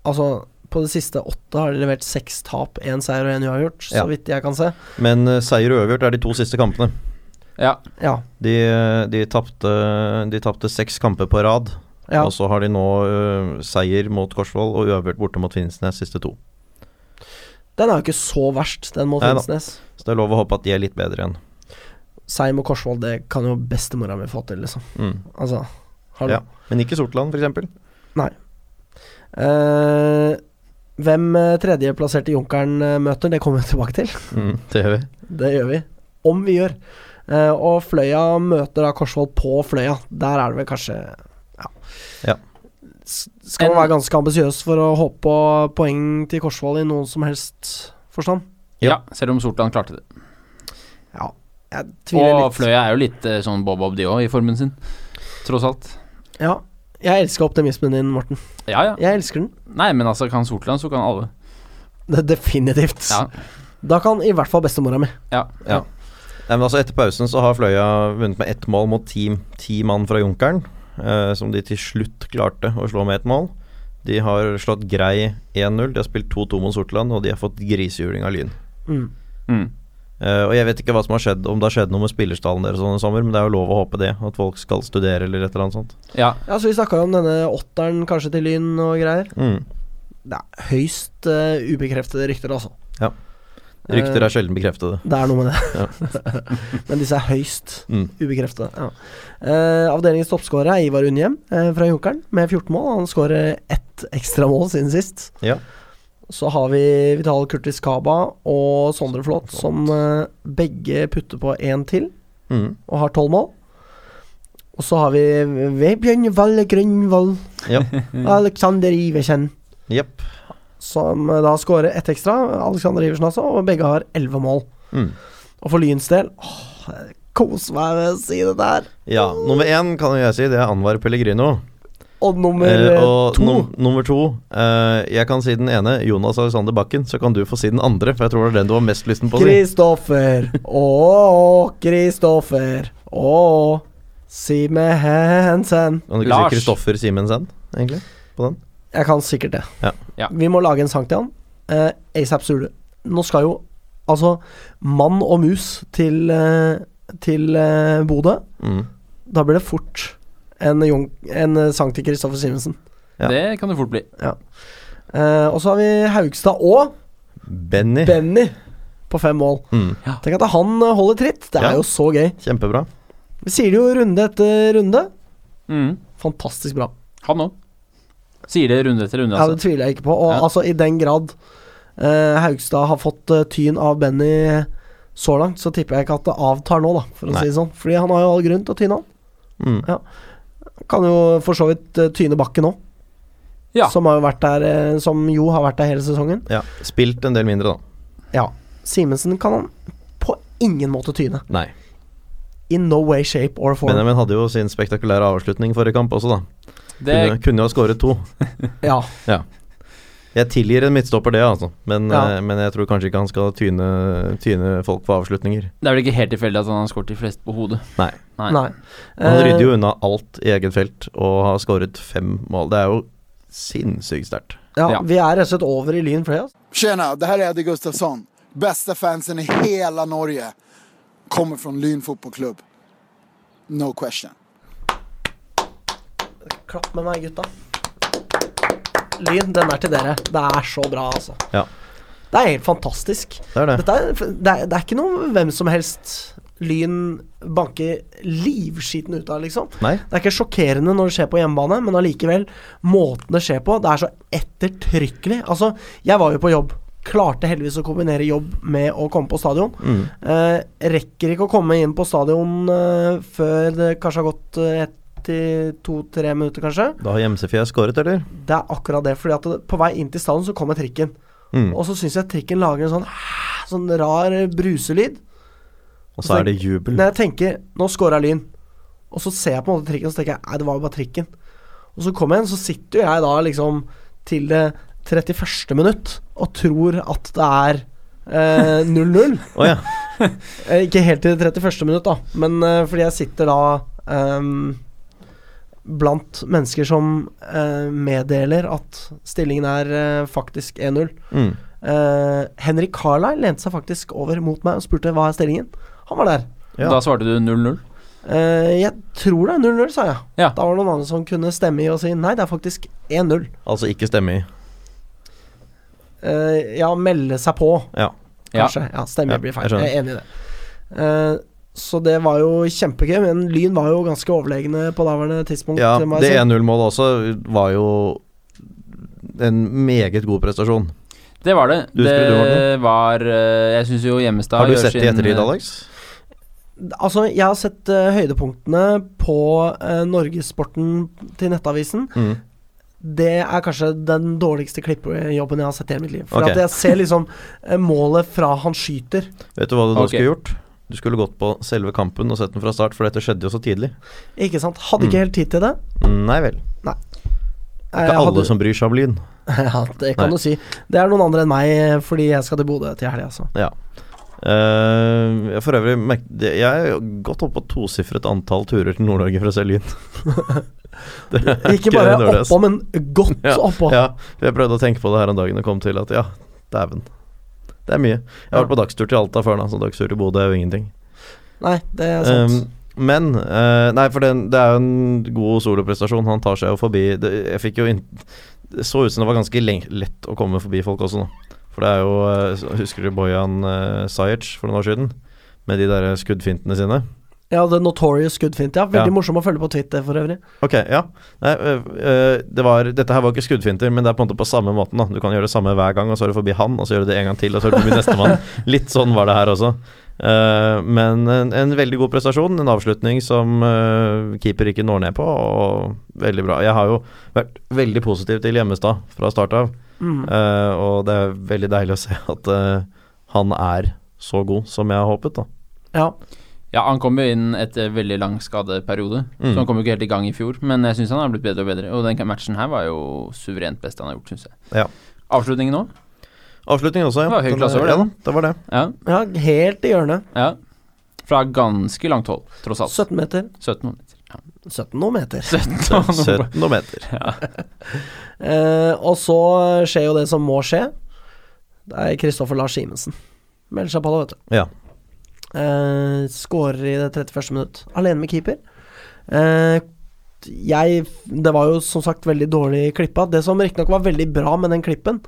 [SPEAKER 1] Altså, på det siste åtte har de levert seks tap, én seier og én uavgjort, så
[SPEAKER 3] Ja.
[SPEAKER 1] vidt jeg kan se.
[SPEAKER 3] Men eh, seier og uavgjort er de to siste kampene.
[SPEAKER 2] Ja.
[SPEAKER 1] Ja,
[SPEAKER 3] De, eh, de tapte de tapte seks kamper på rad,
[SPEAKER 1] ja.
[SPEAKER 3] og så har de nå eh, seier mot Korsvoll og uavgjort borte mot Finnsnes siste to.
[SPEAKER 1] Den er jo ikke så verst, den mot
[SPEAKER 3] Nei da.
[SPEAKER 1] Finnsnes.
[SPEAKER 3] Så det er lov å håpe at de er litt bedre igjen.
[SPEAKER 1] Seim og Korsvoll, det kan jo bestemora mi få til, liksom.
[SPEAKER 3] Mm.
[SPEAKER 1] Altså, hallo.
[SPEAKER 3] Ja. Men ikke Sortland, f.eks.
[SPEAKER 1] Eh, hvem eh, tredjeplasserte Junkeren eh, møter, det kommer vi tilbake til.
[SPEAKER 3] Mm, [laughs] det gjør vi.
[SPEAKER 1] Det gjør vi. Om vi gjør. Eh, og Fløya møter da Korsvoll på Fløya. Der er det vel kanskje Ja.
[SPEAKER 3] Ja.
[SPEAKER 1] S- Skal man
[SPEAKER 2] En-
[SPEAKER 1] være ganske ambisiøs for å håpe på poeng til Korsvoll i noen som helst forstand?
[SPEAKER 3] Ja.
[SPEAKER 2] ja. Selv om Sortland klarte det.
[SPEAKER 1] Ja, jeg tviler
[SPEAKER 2] Og
[SPEAKER 1] litt.
[SPEAKER 2] Fløya er jo litt eh, sånn bob-bob, de òg, i formen sin. Tross alt.
[SPEAKER 1] Ja. Jeg elsker optimismen din, Morten.
[SPEAKER 2] Ja, ja.
[SPEAKER 1] Jeg elsker den.
[SPEAKER 2] Nei, men altså, kan Sortland, så kan alle.
[SPEAKER 1] Det, definitivt.
[SPEAKER 2] Ja.
[SPEAKER 1] Da kan i hvert fall bestemora mi.
[SPEAKER 2] ja.
[SPEAKER 3] Ja. Nei, men altså Etter pausen så har Fløya vunnet med ett mål mot ti, ti mann fra Junkeren, eh, som de til slutt klarte å slå med ett mål. De har slått grei 1-0, de har spilt 2-2 mot Sortland, og de har fått grisehjuling av Lyn.
[SPEAKER 1] Mm.
[SPEAKER 2] Mm.
[SPEAKER 3] Eh, og jeg vet ikke hva som har skjedd, om det har skjedd noe med spillerstallen deres sånn i sommer, men det er jo lov å håpe det, at folk skal studere eller et eller annet sånt.
[SPEAKER 2] ja.
[SPEAKER 1] Ja, så Vi snakka jo om denne åtteren kanskje til Lyn og greier.
[SPEAKER 3] Mm.
[SPEAKER 1] Det er høyst eh, ubekreftede rykter, altså.
[SPEAKER 3] Ja. Rykter er sjelden bekreftede.
[SPEAKER 1] Det er noe med det. [laughs] Men disse er høyst
[SPEAKER 3] Mm.
[SPEAKER 1] ubekreftede. Ja. Eh, avdelingens toppskårer er Ivar Unnhjem eh, fra Junkeren med 14 mål. Han skårer ett ekstra mål siden sist.
[SPEAKER 3] Ja.
[SPEAKER 1] Så har vi Vital Kurtis Kaba og Sondre Flåt som eh, begge putter på én til
[SPEAKER 3] Mm.
[SPEAKER 1] og har tolv mål. Og så har vi Vebjørn Valle Grønvoll,
[SPEAKER 3] Ja.
[SPEAKER 1] Mm. Aleksander Iversen,
[SPEAKER 3] Jepp.
[SPEAKER 1] som eh, da skårer ett ekstra. Aleksander Iversen, altså, og begge har elleve mål.
[SPEAKER 3] Mm.
[SPEAKER 1] Og for Lyns del åh, Kos meg med å si det der.
[SPEAKER 3] Ja, nummer én kan jo jeg si, det er Anwar Pellegrino.
[SPEAKER 1] Og nummer
[SPEAKER 3] Eh,
[SPEAKER 1] eh,
[SPEAKER 3] og
[SPEAKER 1] to
[SPEAKER 3] num nummer to eh, Jeg kan si den ene, Jonas Alexander Bakken. Så kan du få si den andre, for jeg tror det var den du var mest lysten på å si.
[SPEAKER 1] Kristoffer. Ååå, Kristoffer. Ååå. Sime Hensen.
[SPEAKER 3] Kan du ikke
[SPEAKER 2] Lars.
[SPEAKER 3] si Kristoffer Simensen, egentlig? På den?
[SPEAKER 1] Jeg kan sikkert det.
[SPEAKER 3] Ja.
[SPEAKER 2] Ja.
[SPEAKER 1] Vi må lage en sang til han. Eh, ASAP Zulu. Nå skal jo altså mann og mus til, eh, til eh, Bodø.
[SPEAKER 3] Mm.
[SPEAKER 1] Da blir det fort en, jung, en eh, sang til Kristoffer Simensen.
[SPEAKER 3] Ja.
[SPEAKER 2] Det kan det fort bli.
[SPEAKER 1] Eh, og så har vi Haugstad og
[SPEAKER 3] Benny.
[SPEAKER 1] Benny på fem mål.
[SPEAKER 3] Mm.
[SPEAKER 1] Tenk at han eh, holder tritt. Det er
[SPEAKER 3] Ja.
[SPEAKER 1] jo så gøy.
[SPEAKER 3] Kjempebra.
[SPEAKER 1] Vi sier det jo runde etter runde.
[SPEAKER 2] Mm.
[SPEAKER 1] Fantastisk bra.
[SPEAKER 2] Han òg. Sier det runde etter runde,
[SPEAKER 1] Ja, det
[SPEAKER 2] altså.
[SPEAKER 1] tviler jeg ikke på. Og
[SPEAKER 2] Ja.
[SPEAKER 1] altså, i den grad eh, Haugstad har fått eh, tyn av Benny så langt, så tipper jeg ikke at det avtar nå, da, for å
[SPEAKER 3] Nei.
[SPEAKER 1] si det sånn. Fordi han har jo all grunn til å tyne han.
[SPEAKER 3] Mm.
[SPEAKER 1] Kan jo for så vidt eh, tyne Bakken òg,
[SPEAKER 2] Ja.
[SPEAKER 1] som har jo vært der eh, Som jo har vært der hele sesongen.
[SPEAKER 3] Ja. Spilt en del mindre, da.
[SPEAKER 1] Ja. Simensen kan han på ingen måte tyne.
[SPEAKER 3] Nei.
[SPEAKER 1] In no way, shape or form.
[SPEAKER 3] Benjamin hadde jo sin spektakulære avslutning forrige kamp også, da.
[SPEAKER 2] Det,
[SPEAKER 3] Kunne, kunne jo ha skåret to.
[SPEAKER 1] Ja.
[SPEAKER 3] Jeg tilgir en midtstopper det, altså. Men,
[SPEAKER 1] Ja.
[SPEAKER 3] eh, men jeg tror kanskje ikke han skal tyne, tyne folk på avslutninger.
[SPEAKER 2] det er vel ikke helt tilfeldig at han har skåret de fleste på hodet.
[SPEAKER 3] Nei.
[SPEAKER 2] Nei.
[SPEAKER 1] Nei.
[SPEAKER 3] Men Han
[SPEAKER 1] Eh,
[SPEAKER 3] rydder jo unna alt i eget felt og har skåret fem mål. Det er jo sinnssykt sterkt.
[SPEAKER 1] ja,
[SPEAKER 2] Ja.
[SPEAKER 1] Vi er rett og slett over i Lyn altså. Players.
[SPEAKER 6] Tjena, det här är Eddie Gustafsson. Bästa fansen i hela Norge. Kommer från Lyn fotbollklubb. No question.
[SPEAKER 1] Klapp med meg, gutta. Lyn, den er til dere. Det er så bra, altså.
[SPEAKER 3] Ja.
[SPEAKER 1] Det er helt fantastisk.
[SPEAKER 3] Det er det.
[SPEAKER 1] Dette er, det, er, det er ikke noe hvem som helst Lyn banker livskiten ut av, liksom.
[SPEAKER 3] Nei.
[SPEAKER 1] Det er ikke sjokkerende når det skjer på hjemmebane, men allikevel, måten det skjer på, det er så ettertrykkelig. Altså, jeg var jo på jobb. Klarte heldigvis å kombinere jobb med å komme på stadion.
[SPEAKER 3] Mm.
[SPEAKER 1] Eh, rekker ikke å komme inn på stadion eh, før det kanskje har gått eh, ett til to-tre minutter, kanskje.
[SPEAKER 3] Da har Gjemsefjes skåret, eller?
[SPEAKER 1] Det er akkurat det. fordi at det, på vei inn til stadion så kommer trikken.
[SPEAKER 3] Mm.
[SPEAKER 1] Og så syns jeg trikken lager en sånn, [sighs] sånn rar eh, bruselyd.
[SPEAKER 3] Og så er det jubel.
[SPEAKER 1] Når jeg tenker 'nå scora Lyn', og så ser jeg på en måte trikken, og så tenker jeg 'nei, det var jo bare trikken'. Og så kommer jeg inn, så sitter jo jeg da liksom til det 31. minutt og tror at det er eh, 0-0.
[SPEAKER 3] Å ja.
[SPEAKER 1] Eh, Ikke helt til det 31. minutt, da, men eh, fordi jeg sitter da ehm, blant mennesker som eh, meddeler at stillingen er eh, faktisk 1-0.
[SPEAKER 3] Mm.
[SPEAKER 1] Eh, Henrik Carlyle lente seg faktisk over mot meg og spurte hva er stillingen. Han var der.
[SPEAKER 3] Ja.
[SPEAKER 2] Da svarte du 0-0.
[SPEAKER 1] Eh, jeg tror det er 0-0, sa jeg.
[SPEAKER 2] Ja.
[SPEAKER 1] Da var det noen andre som kunne stemme i og si nei, det er faktisk 1-0.
[SPEAKER 3] Altså ikke stemme i.
[SPEAKER 1] Eh, ja, melde seg på.
[SPEAKER 3] Ja.
[SPEAKER 2] Ja.
[SPEAKER 1] Kanskje. Ja, stemme
[SPEAKER 3] Ja,
[SPEAKER 1] blir
[SPEAKER 3] jeg
[SPEAKER 1] feil.
[SPEAKER 3] skjønner.
[SPEAKER 1] Jeg er enig i det. Eh, så det var jo kjempegøy, men Lyn var jo ganske overlegne på daværende tidspunkt.
[SPEAKER 3] ja
[SPEAKER 1] må
[SPEAKER 3] det
[SPEAKER 1] jeg si.
[SPEAKER 3] 1-0-målet også var jo en meget god prestasjon.
[SPEAKER 2] Det var det.
[SPEAKER 3] Du husker du,
[SPEAKER 2] det var eh, Jeg syns jo Hjemmestad
[SPEAKER 3] Har du
[SPEAKER 2] gjør
[SPEAKER 3] sett det i
[SPEAKER 2] sin- eh,
[SPEAKER 3] ettertid, Alex?
[SPEAKER 1] Altså, jeg har sett eh, høydepunktene på eh, Norgessporten til Nettavisen.
[SPEAKER 3] Mm.
[SPEAKER 1] Det er kanskje den dårligste klippejobben jeg har sett i hele mitt liv. For
[SPEAKER 3] Ok.
[SPEAKER 1] at jeg ser liksom eh, målet fra han skyter.
[SPEAKER 3] Vet du hva du nå
[SPEAKER 2] Ok.
[SPEAKER 3] skulle gjort? Du skulle gått på selve kampen og sett den fra start, for dette skjedde jo så tidlig.
[SPEAKER 1] Ikke sant? Hadde ikke helt tid til det.
[SPEAKER 3] Nei vel.
[SPEAKER 1] Eh,
[SPEAKER 3] Mm. Ikke alle
[SPEAKER 1] hadde-
[SPEAKER 3] som bryr seg om Lyn.
[SPEAKER 1] [laughs] Ja, det kan du
[SPEAKER 3] Nei.
[SPEAKER 1] si. Det er noen andre enn meg, eh, fordi jeg skal til Bodø til helga, altså.
[SPEAKER 3] Eh, jeg for øvrig merk- det- Jeg er godt oppe på tosifret antall turer til Nord-Norge for å se Lyn.
[SPEAKER 1] [laughs]
[SPEAKER 3] Det er
[SPEAKER 1] Ikke bare
[SPEAKER 3] dårlig, ass.
[SPEAKER 1] oppå, men godt oppå.
[SPEAKER 3] Ja, jeg prøvde å tenke på det her om dagen og kom til at ja, dæven. Det er mye. Jeg har vært på dagstur til Alta før, da, så dagstur til Bodø er jo ingenting.
[SPEAKER 1] Nei, det er sant.
[SPEAKER 3] Um, men eh, Nei, for den, det er jo en god soloprestasjon. Han tar seg jo forbi det, Jeg fikk jo inn Det så ut som det var ganske len- lett å komme forbi folk også nå. For det er jo eh, så- Husker du Bojan uh, Sajic for noen år siden? Med de der skuddfintene sine?
[SPEAKER 1] ja, The Notorious Skuddfint, ja.
[SPEAKER 3] Ja.
[SPEAKER 1] Veldig morsom å følge på Twitter for øvrig.
[SPEAKER 3] Ok, ja. Nei, øh, øh, det var, dette her var ikke skuddfinter, men det er på en måte på samme måten. da Du kan gjøre det samme hver gang, og så er det forbi han, og så gjør du det en gang til, og så er det forbi
[SPEAKER 2] [laughs]
[SPEAKER 3] nestemann. Litt sånn var det her også. Eh, men en, en veldig god prestasjon. En avslutning som eh, keeper ikke når ned på, og veldig bra. Jeg har jo vært veldig positiv til Hjemmestad fra start av,
[SPEAKER 1] Mm.
[SPEAKER 3] eh, og det er veldig deilig å se at eh, han er så god som jeg har håpet, da.
[SPEAKER 1] Ja.
[SPEAKER 2] Ja, han kom jo inn etter veldig lang skadeperiode,
[SPEAKER 3] Mm.
[SPEAKER 2] så han kom jo ikke helt i gang i fjor. Men jeg syns han har blitt bedre og bedre, og den matchen her var jo suverent best han har gjort, syns jeg.
[SPEAKER 3] Ja.
[SPEAKER 2] Avslutningen nå?
[SPEAKER 3] Avslutning også, ja.
[SPEAKER 2] Det var høy
[SPEAKER 3] Den-
[SPEAKER 2] klasse over det,
[SPEAKER 3] ja, det
[SPEAKER 2] [laughs]
[SPEAKER 3] var det.
[SPEAKER 2] Ja,
[SPEAKER 1] ja, helt i hjørnet.
[SPEAKER 2] ja. Fra ganske langt hold, tross alt.
[SPEAKER 1] 17 meter.
[SPEAKER 2] 17 meter. Ja.
[SPEAKER 1] 17 noen meter.
[SPEAKER 2] 17
[SPEAKER 3] 17 meter.
[SPEAKER 1] Eh, og så skjer jo det som må skje. Det er Kristoffer Lars Simensen. Melder seg på det, vet du.
[SPEAKER 3] Ja.
[SPEAKER 1] Eh, Skårer i det 31. minutt. Alene med keeper. Eh, jeg Det var jo som sagt veldig dårlig klippa. Det som riktignok var veldig bra med den klippen,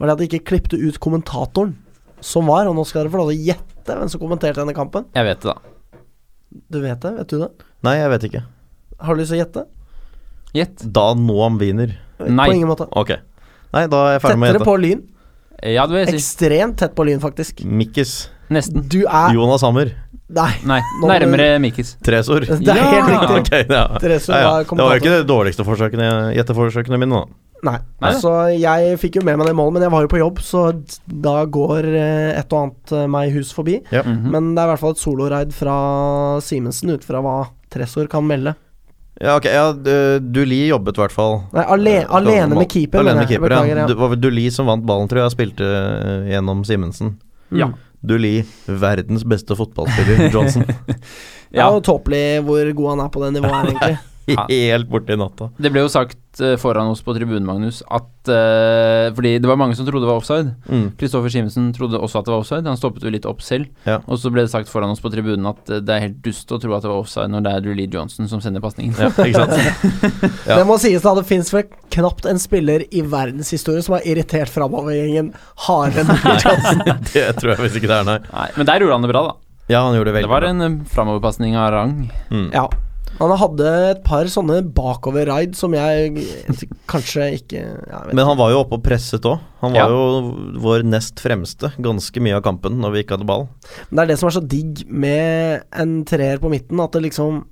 [SPEAKER 1] var det at de ikke klippte ut kommentatoren som var. Og nå skal dere få lov til å gjette hvem som kommenterte denne kampen.
[SPEAKER 2] Jeg vet det, da.
[SPEAKER 1] Du vet det? Vet du det?
[SPEAKER 3] Nei, jeg vet ikke.
[SPEAKER 1] Har du lyst til å gjette?
[SPEAKER 2] Gjett.
[SPEAKER 3] Dan Noam Wiener.
[SPEAKER 2] Nei.
[SPEAKER 1] På ingen måte.
[SPEAKER 3] Ok. Nei, da er jeg ferdig med å
[SPEAKER 1] Tettere
[SPEAKER 3] gjette.
[SPEAKER 1] på Lyn.
[SPEAKER 2] Ja, du vil si
[SPEAKER 1] Ekstremt tett på Lyn, faktisk.
[SPEAKER 3] Mikkis.
[SPEAKER 2] Nesten.
[SPEAKER 1] Du er
[SPEAKER 3] Jonas Hammer.
[SPEAKER 1] Nei.
[SPEAKER 2] Nei,
[SPEAKER 1] Nå-
[SPEAKER 2] nærmere Mikkis.
[SPEAKER 3] Tresor.
[SPEAKER 1] Det er helt riktig.
[SPEAKER 3] Ok, [laughs] ja.
[SPEAKER 1] Tresor
[SPEAKER 3] ja,
[SPEAKER 1] var
[SPEAKER 3] ja. Det var jo
[SPEAKER 1] kommentator.
[SPEAKER 3] ikke det dårligste forsøkene, gjetteforsøkene mine, da.
[SPEAKER 1] Nei.
[SPEAKER 2] Nei.
[SPEAKER 1] Så Altså, jeg fikk jo med meg det målet, men jeg var jo på jobb, så d- da går eh, et og annet eh, meg hus forbi.
[SPEAKER 3] Ja.
[SPEAKER 2] Mhm.
[SPEAKER 1] Men det er i hvert fall et soloride fra Simensen, ut fra hva Tresor kan melde.
[SPEAKER 3] Ja, ok, ja, du- Duli jobbet i hvert fall. Eh,
[SPEAKER 1] Nei, ale- alene med keeper,
[SPEAKER 3] Alene
[SPEAKER 1] mener
[SPEAKER 3] med
[SPEAKER 1] jeg.
[SPEAKER 3] keeper,
[SPEAKER 1] Beklager,
[SPEAKER 3] ja.
[SPEAKER 1] ja.
[SPEAKER 3] Det var vel Duli som vant ballen, tror jeg, og spilte eh, gjennom Simensen.
[SPEAKER 2] Ja.
[SPEAKER 3] Duli, verdens beste
[SPEAKER 1] [laughs]
[SPEAKER 3] fotballspiller, Johnson.
[SPEAKER 1] Det er
[SPEAKER 2] ja.
[SPEAKER 1] jo tåpelig hvor god han er på det nivået her, egentlig.
[SPEAKER 2] Ja.
[SPEAKER 3] Helt borti natta.
[SPEAKER 2] Det ble jo sagt eh, foran oss på tribunen, Magnus, at eh, Fordi det var mange som trodde det var offside.
[SPEAKER 3] Mm.
[SPEAKER 2] Kristoffer Simensen trodde også at det var offside. Han stoppet jo litt opp selv.
[SPEAKER 3] Ja.
[SPEAKER 2] Og så ble det sagt foran oss på tribunen at eh, det er helt dust å tro at det var offside når det er Drulee Johnson som sender pasningen.
[SPEAKER 3] Ja, ikke sant? [laughs] [laughs] Ja.
[SPEAKER 1] Det må sies da, det fins vel knapt en spiller i verdenshistorie som har irritert framovergjengen
[SPEAKER 3] [laughs]
[SPEAKER 1] hardere enn Richard
[SPEAKER 3] Det tror jeg visst ikke det er, nei.
[SPEAKER 2] [laughs] Nei, men der gjorde han det bra, da.
[SPEAKER 3] Ja, han gjorde det
[SPEAKER 2] Det
[SPEAKER 3] veldig
[SPEAKER 2] var
[SPEAKER 3] bra.
[SPEAKER 2] en eh, framoverpasning av rang.
[SPEAKER 3] Mm.
[SPEAKER 1] Ja. Han hadde et par sånne bakover-raid som jeg kanskje ikke ja, jeg vet
[SPEAKER 3] Men han var jo oppe og presset òg. Han
[SPEAKER 2] Ja.
[SPEAKER 3] var jo vår nest fremste ganske mye av kampen når vi ikke hadde ball.
[SPEAKER 1] ikke. Men det er det som er så digg med en treer på midten, at det liksom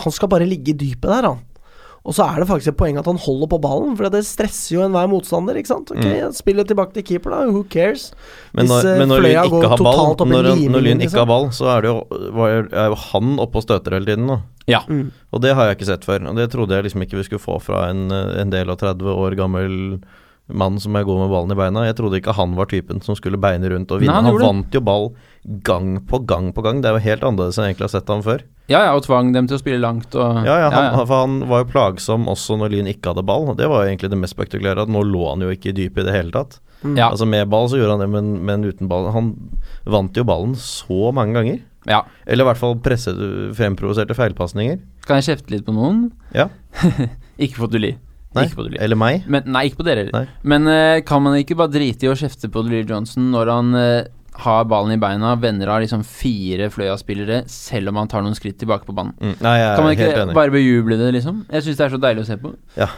[SPEAKER 1] Han skal bare ligge i dypet der, han. Og så er det faktisk et poeng at han holder på ballen, for det stresser jo enhver motstander. ikke sant? Ok, Spillet tilbake til keeper, da. Who cares?
[SPEAKER 3] Mm. Men
[SPEAKER 1] Hvis,
[SPEAKER 3] når,
[SPEAKER 1] eh,
[SPEAKER 3] men når
[SPEAKER 1] fløya
[SPEAKER 3] Lyn
[SPEAKER 1] går
[SPEAKER 3] ikke har ball,
[SPEAKER 1] totalt opp i
[SPEAKER 3] når,
[SPEAKER 1] limen,
[SPEAKER 3] når Lyn
[SPEAKER 1] liksom.
[SPEAKER 3] ikke har ball, så er det jo, var, er jo han oppe og støter hele tiden nå.
[SPEAKER 2] Ja.
[SPEAKER 3] Og det har jeg ikke sett før. Og det trodde jeg liksom ikke vi skulle få fra en, eh, en del av 30 år gammel mann som er god med ballen i beina. Jeg trodde ikke han var typen som skulle beine rundt og vinne.
[SPEAKER 2] Nei, han
[SPEAKER 3] han
[SPEAKER 2] gjorde det.
[SPEAKER 3] vant jo ball gang på gang på gang. Det er jo helt annerledes enn jeg egentlig har sett ham før.
[SPEAKER 2] ja, ja, og tvang dem til å spille langt og
[SPEAKER 3] Ja, ja, han, For han var jo plagsom også når Lyn ikke hadde ball. og Det var jo egentlig det mest spektakulære, at nå lå han jo ikke i dypet i det hele tatt.
[SPEAKER 2] Ja.
[SPEAKER 3] Altså Med ball så gjorde han det, men, men uten ball Han vant jo ballen så mange ganger.
[SPEAKER 2] ja.
[SPEAKER 3] Eller i hvert fall presset, fremprovoserte feilpasninger.
[SPEAKER 2] Kan jeg kjefte litt på noen?
[SPEAKER 3] Ja.
[SPEAKER 2] [laughs] ikke på Duli.
[SPEAKER 3] Nei,
[SPEAKER 2] Ikke på Duli.
[SPEAKER 3] eller meg.
[SPEAKER 2] Men, nei, ikke på dere
[SPEAKER 3] Nei.
[SPEAKER 2] heller. Men eh, kan man ikke bare drite i å kjefte på Lee Johnson når han eh, har ballen i beina, venner av liksom fire Fløya-spillere, selv om han tar noen skritt tilbake på banen?
[SPEAKER 3] Mm, nei, jeg er
[SPEAKER 2] Kan man
[SPEAKER 3] helt
[SPEAKER 2] ikke
[SPEAKER 3] enig.
[SPEAKER 2] bare bejuble det, liksom? Jeg syns det er så deilig å se på.
[SPEAKER 3] Ja.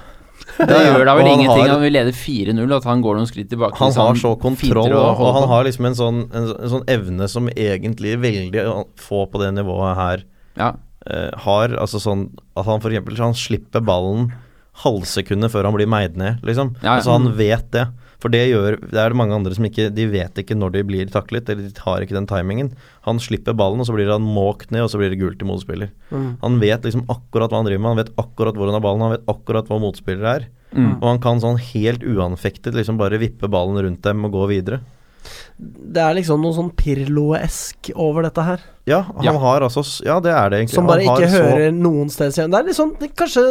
[SPEAKER 2] Det gjør da
[SPEAKER 3] Og
[SPEAKER 2] vel
[SPEAKER 3] han
[SPEAKER 2] ingenting
[SPEAKER 3] har-
[SPEAKER 2] at vi leder 4-0, at han går noen skritt tilbake.
[SPEAKER 3] Han
[SPEAKER 2] hvis
[SPEAKER 3] har så
[SPEAKER 2] finter
[SPEAKER 3] kontroll,
[SPEAKER 2] sånn å
[SPEAKER 3] og,
[SPEAKER 2] holde
[SPEAKER 3] og han
[SPEAKER 2] på.
[SPEAKER 3] har liksom en sånn, en, så- en sånn evne som egentlig veldig få på det nivået her
[SPEAKER 2] ja.
[SPEAKER 3] eh, har. Altså sånn at han for eksempel han slipper ballen halvsekundet før han blir meid ned, liksom.
[SPEAKER 2] Ja, Mm. ja.
[SPEAKER 3] Altså han vet det. For det gjør Det er det mange andre som ikke De vet ikke når de blir taklet, eller de har ikke den timingen. Han slipper ballen, og så blir han måkt ned, og så blir det gult til motspiller.
[SPEAKER 1] Mm.
[SPEAKER 3] Han vet liksom akkurat hva han driver med, han vet akkurat hvor han har ballen, han vet akkurat hva motspiller er.
[SPEAKER 2] Mm.
[SPEAKER 3] Og han kan sånn helt uanfektet liksom bare vippe ballen rundt dem og gå videre.
[SPEAKER 1] Det er liksom noe sånn Pirlo-esk over dette her.
[SPEAKER 3] Ja, han
[SPEAKER 2] Ja.
[SPEAKER 3] har altså s- Ja, det er det egentlig.
[SPEAKER 1] Som bare
[SPEAKER 3] Han har
[SPEAKER 1] ikke
[SPEAKER 3] så-
[SPEAKER 1] hører noen steds igjen. Det er litt sånn det Kanskje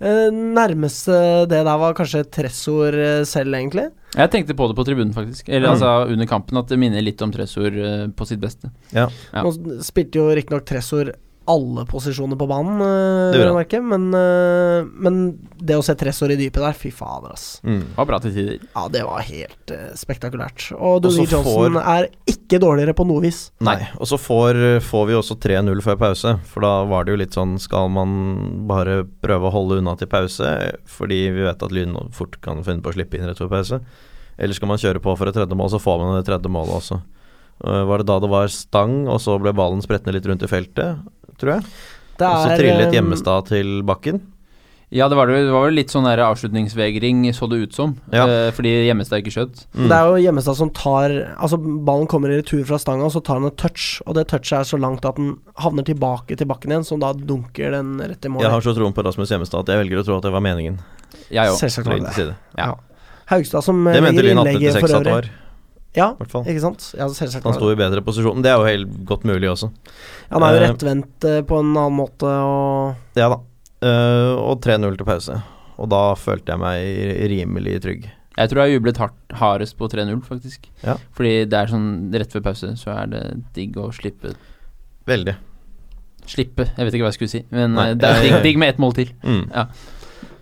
[SPEAKER 1] eh, nærmeste det der var kanskje et tressord eh, selv, egentlig.
[SPEAKER 2] Jeg tenkte på det på tribunen, faktisk. Eller
[SPEAKER 3] Mm.
[SPEAKER 2] altså under kampen, at det minner litt om Tressor eh, på sitt beste.
[SPEAKER 3] Ja.
[SPEAKER 2] Ja.
[SPEAKER 1] Nå spilte jo riktignok Tressor alle posisjoner på banen, eh,
[SPEAKER 3] Det gjorde
[SPEAKER 1] vil jeg merke, men, eh, men det å se Tressor i dypet der, fy fader, ass.
[SPEAKER 3] Mm.
[SPEAKER 2] Var bra til tider.
[SPEAKER 1] Ja, det var helt eh, spektakulært. Og
[SPEAKER 3] Og så
[SPEAKER 1] Donny Johnson er ikke dårligere på noe vis.
[SPEAKER 3] Nei. Og så får, får vi også 3-0 før pause, for da var det jo litt sånn Skal man bare prøve å holde unna til pause, fordi vi vet at Lyn fort kan finne på å slippe inn rett før pause? Eller skal man kjøre på for et tredje mål, så får man det tredje målet også. Eh, Var det da det var stang, og så ble ballen sprettende litt rundt i feltet, tror jeg.
[SPEAKER 1] Det
[SPEAKER 3] Og så
[SPEAKER 1] er,
[SPEAKER 3] trillet
[SPEAKER 1] eh,
[SPEAKER 3] Hjemmestad til bakken.
[SPEAKER 2] Ja, det var, det, det var vel litt sånn der avslutningsvegring, så det ut som.
[SPEAKER 3] Ja.
[SPEAKER 2] eh, fordi Gjemmestad ikke skjøt.
[SPEAKER 1] Det
[SPEAKER 3] Mm.
[SPEAKER 1] er jo Gjemmestad som tar Altså, ballen kommer i retur fra stanga, og så tar han et touch, og det touchet er så langt at den havner tilbake til bakken igjen, som da dunker den rett i mål.
[SPEAKER 3] Jeg har så troen på Rasmus Hjemmestad at jeg velger å tro at det var meningen.
[SPEAKER 2] Jeg òg.
[SPEAKER 1] Selvsagt
[SPEAKER 3] Fra
[SPEAKER 1] var det det.
[SPEAKER 3] Lyns side.
[SPEAKER 2] Ja.
[SPEAKER 1] Haugstad som eh,
[SPEAKER 3] Det mente
[SPEAKER 1] legger
[SPEAKER 3] Lyn
[SPEAKER 1] innlegget
[SPEAKER 3] 8-6
[SPEAKER 1] for
[SPEAKER 3] at
[SPEAKER 1] øvrig.
[SPEAKER 3] det var.
[SPEAKER 1] Ja,
[SPEAKER 3] hvert fall.
[SPEAKER 1] ikke sant? Ja, selvsagt. var
[SPEAKER 3] Han sto
[SPEAKER 1] det.
[SPEAKER 3] i bedre posisjon. men Det er jo helt godt mulig også.
[SPEAKER 1] Han er jo
[SPEAKER 3] eh,
[SPEAKER 1] rettvendt eh, på en annen måte og
[SPEAKER 3] Ja da. Eh, og 3-0 til pause. Og da følte jeg meg rimelig trygg.
[SPEAKER 2] Jeg tror jeg jublet hardt, hardest på 3-0, faktisk.
[SPEAKER 3] Ja.
[SPEAKER 2] Fordi det er sånn rett før pause, så er det digg å slippe
[SPEAKER 3] Veldig.
[SPEAKER 2] Slippe, jeg vet ikke hva jeg skulle si, men
[SPEAKER 3] Nei,
[SPEAKER 2] eh, det er
[SPEAKER 3] jeg-
[SPEAKER 2] digg, digg med ett mål til.
[SPEAKER 3] Mm.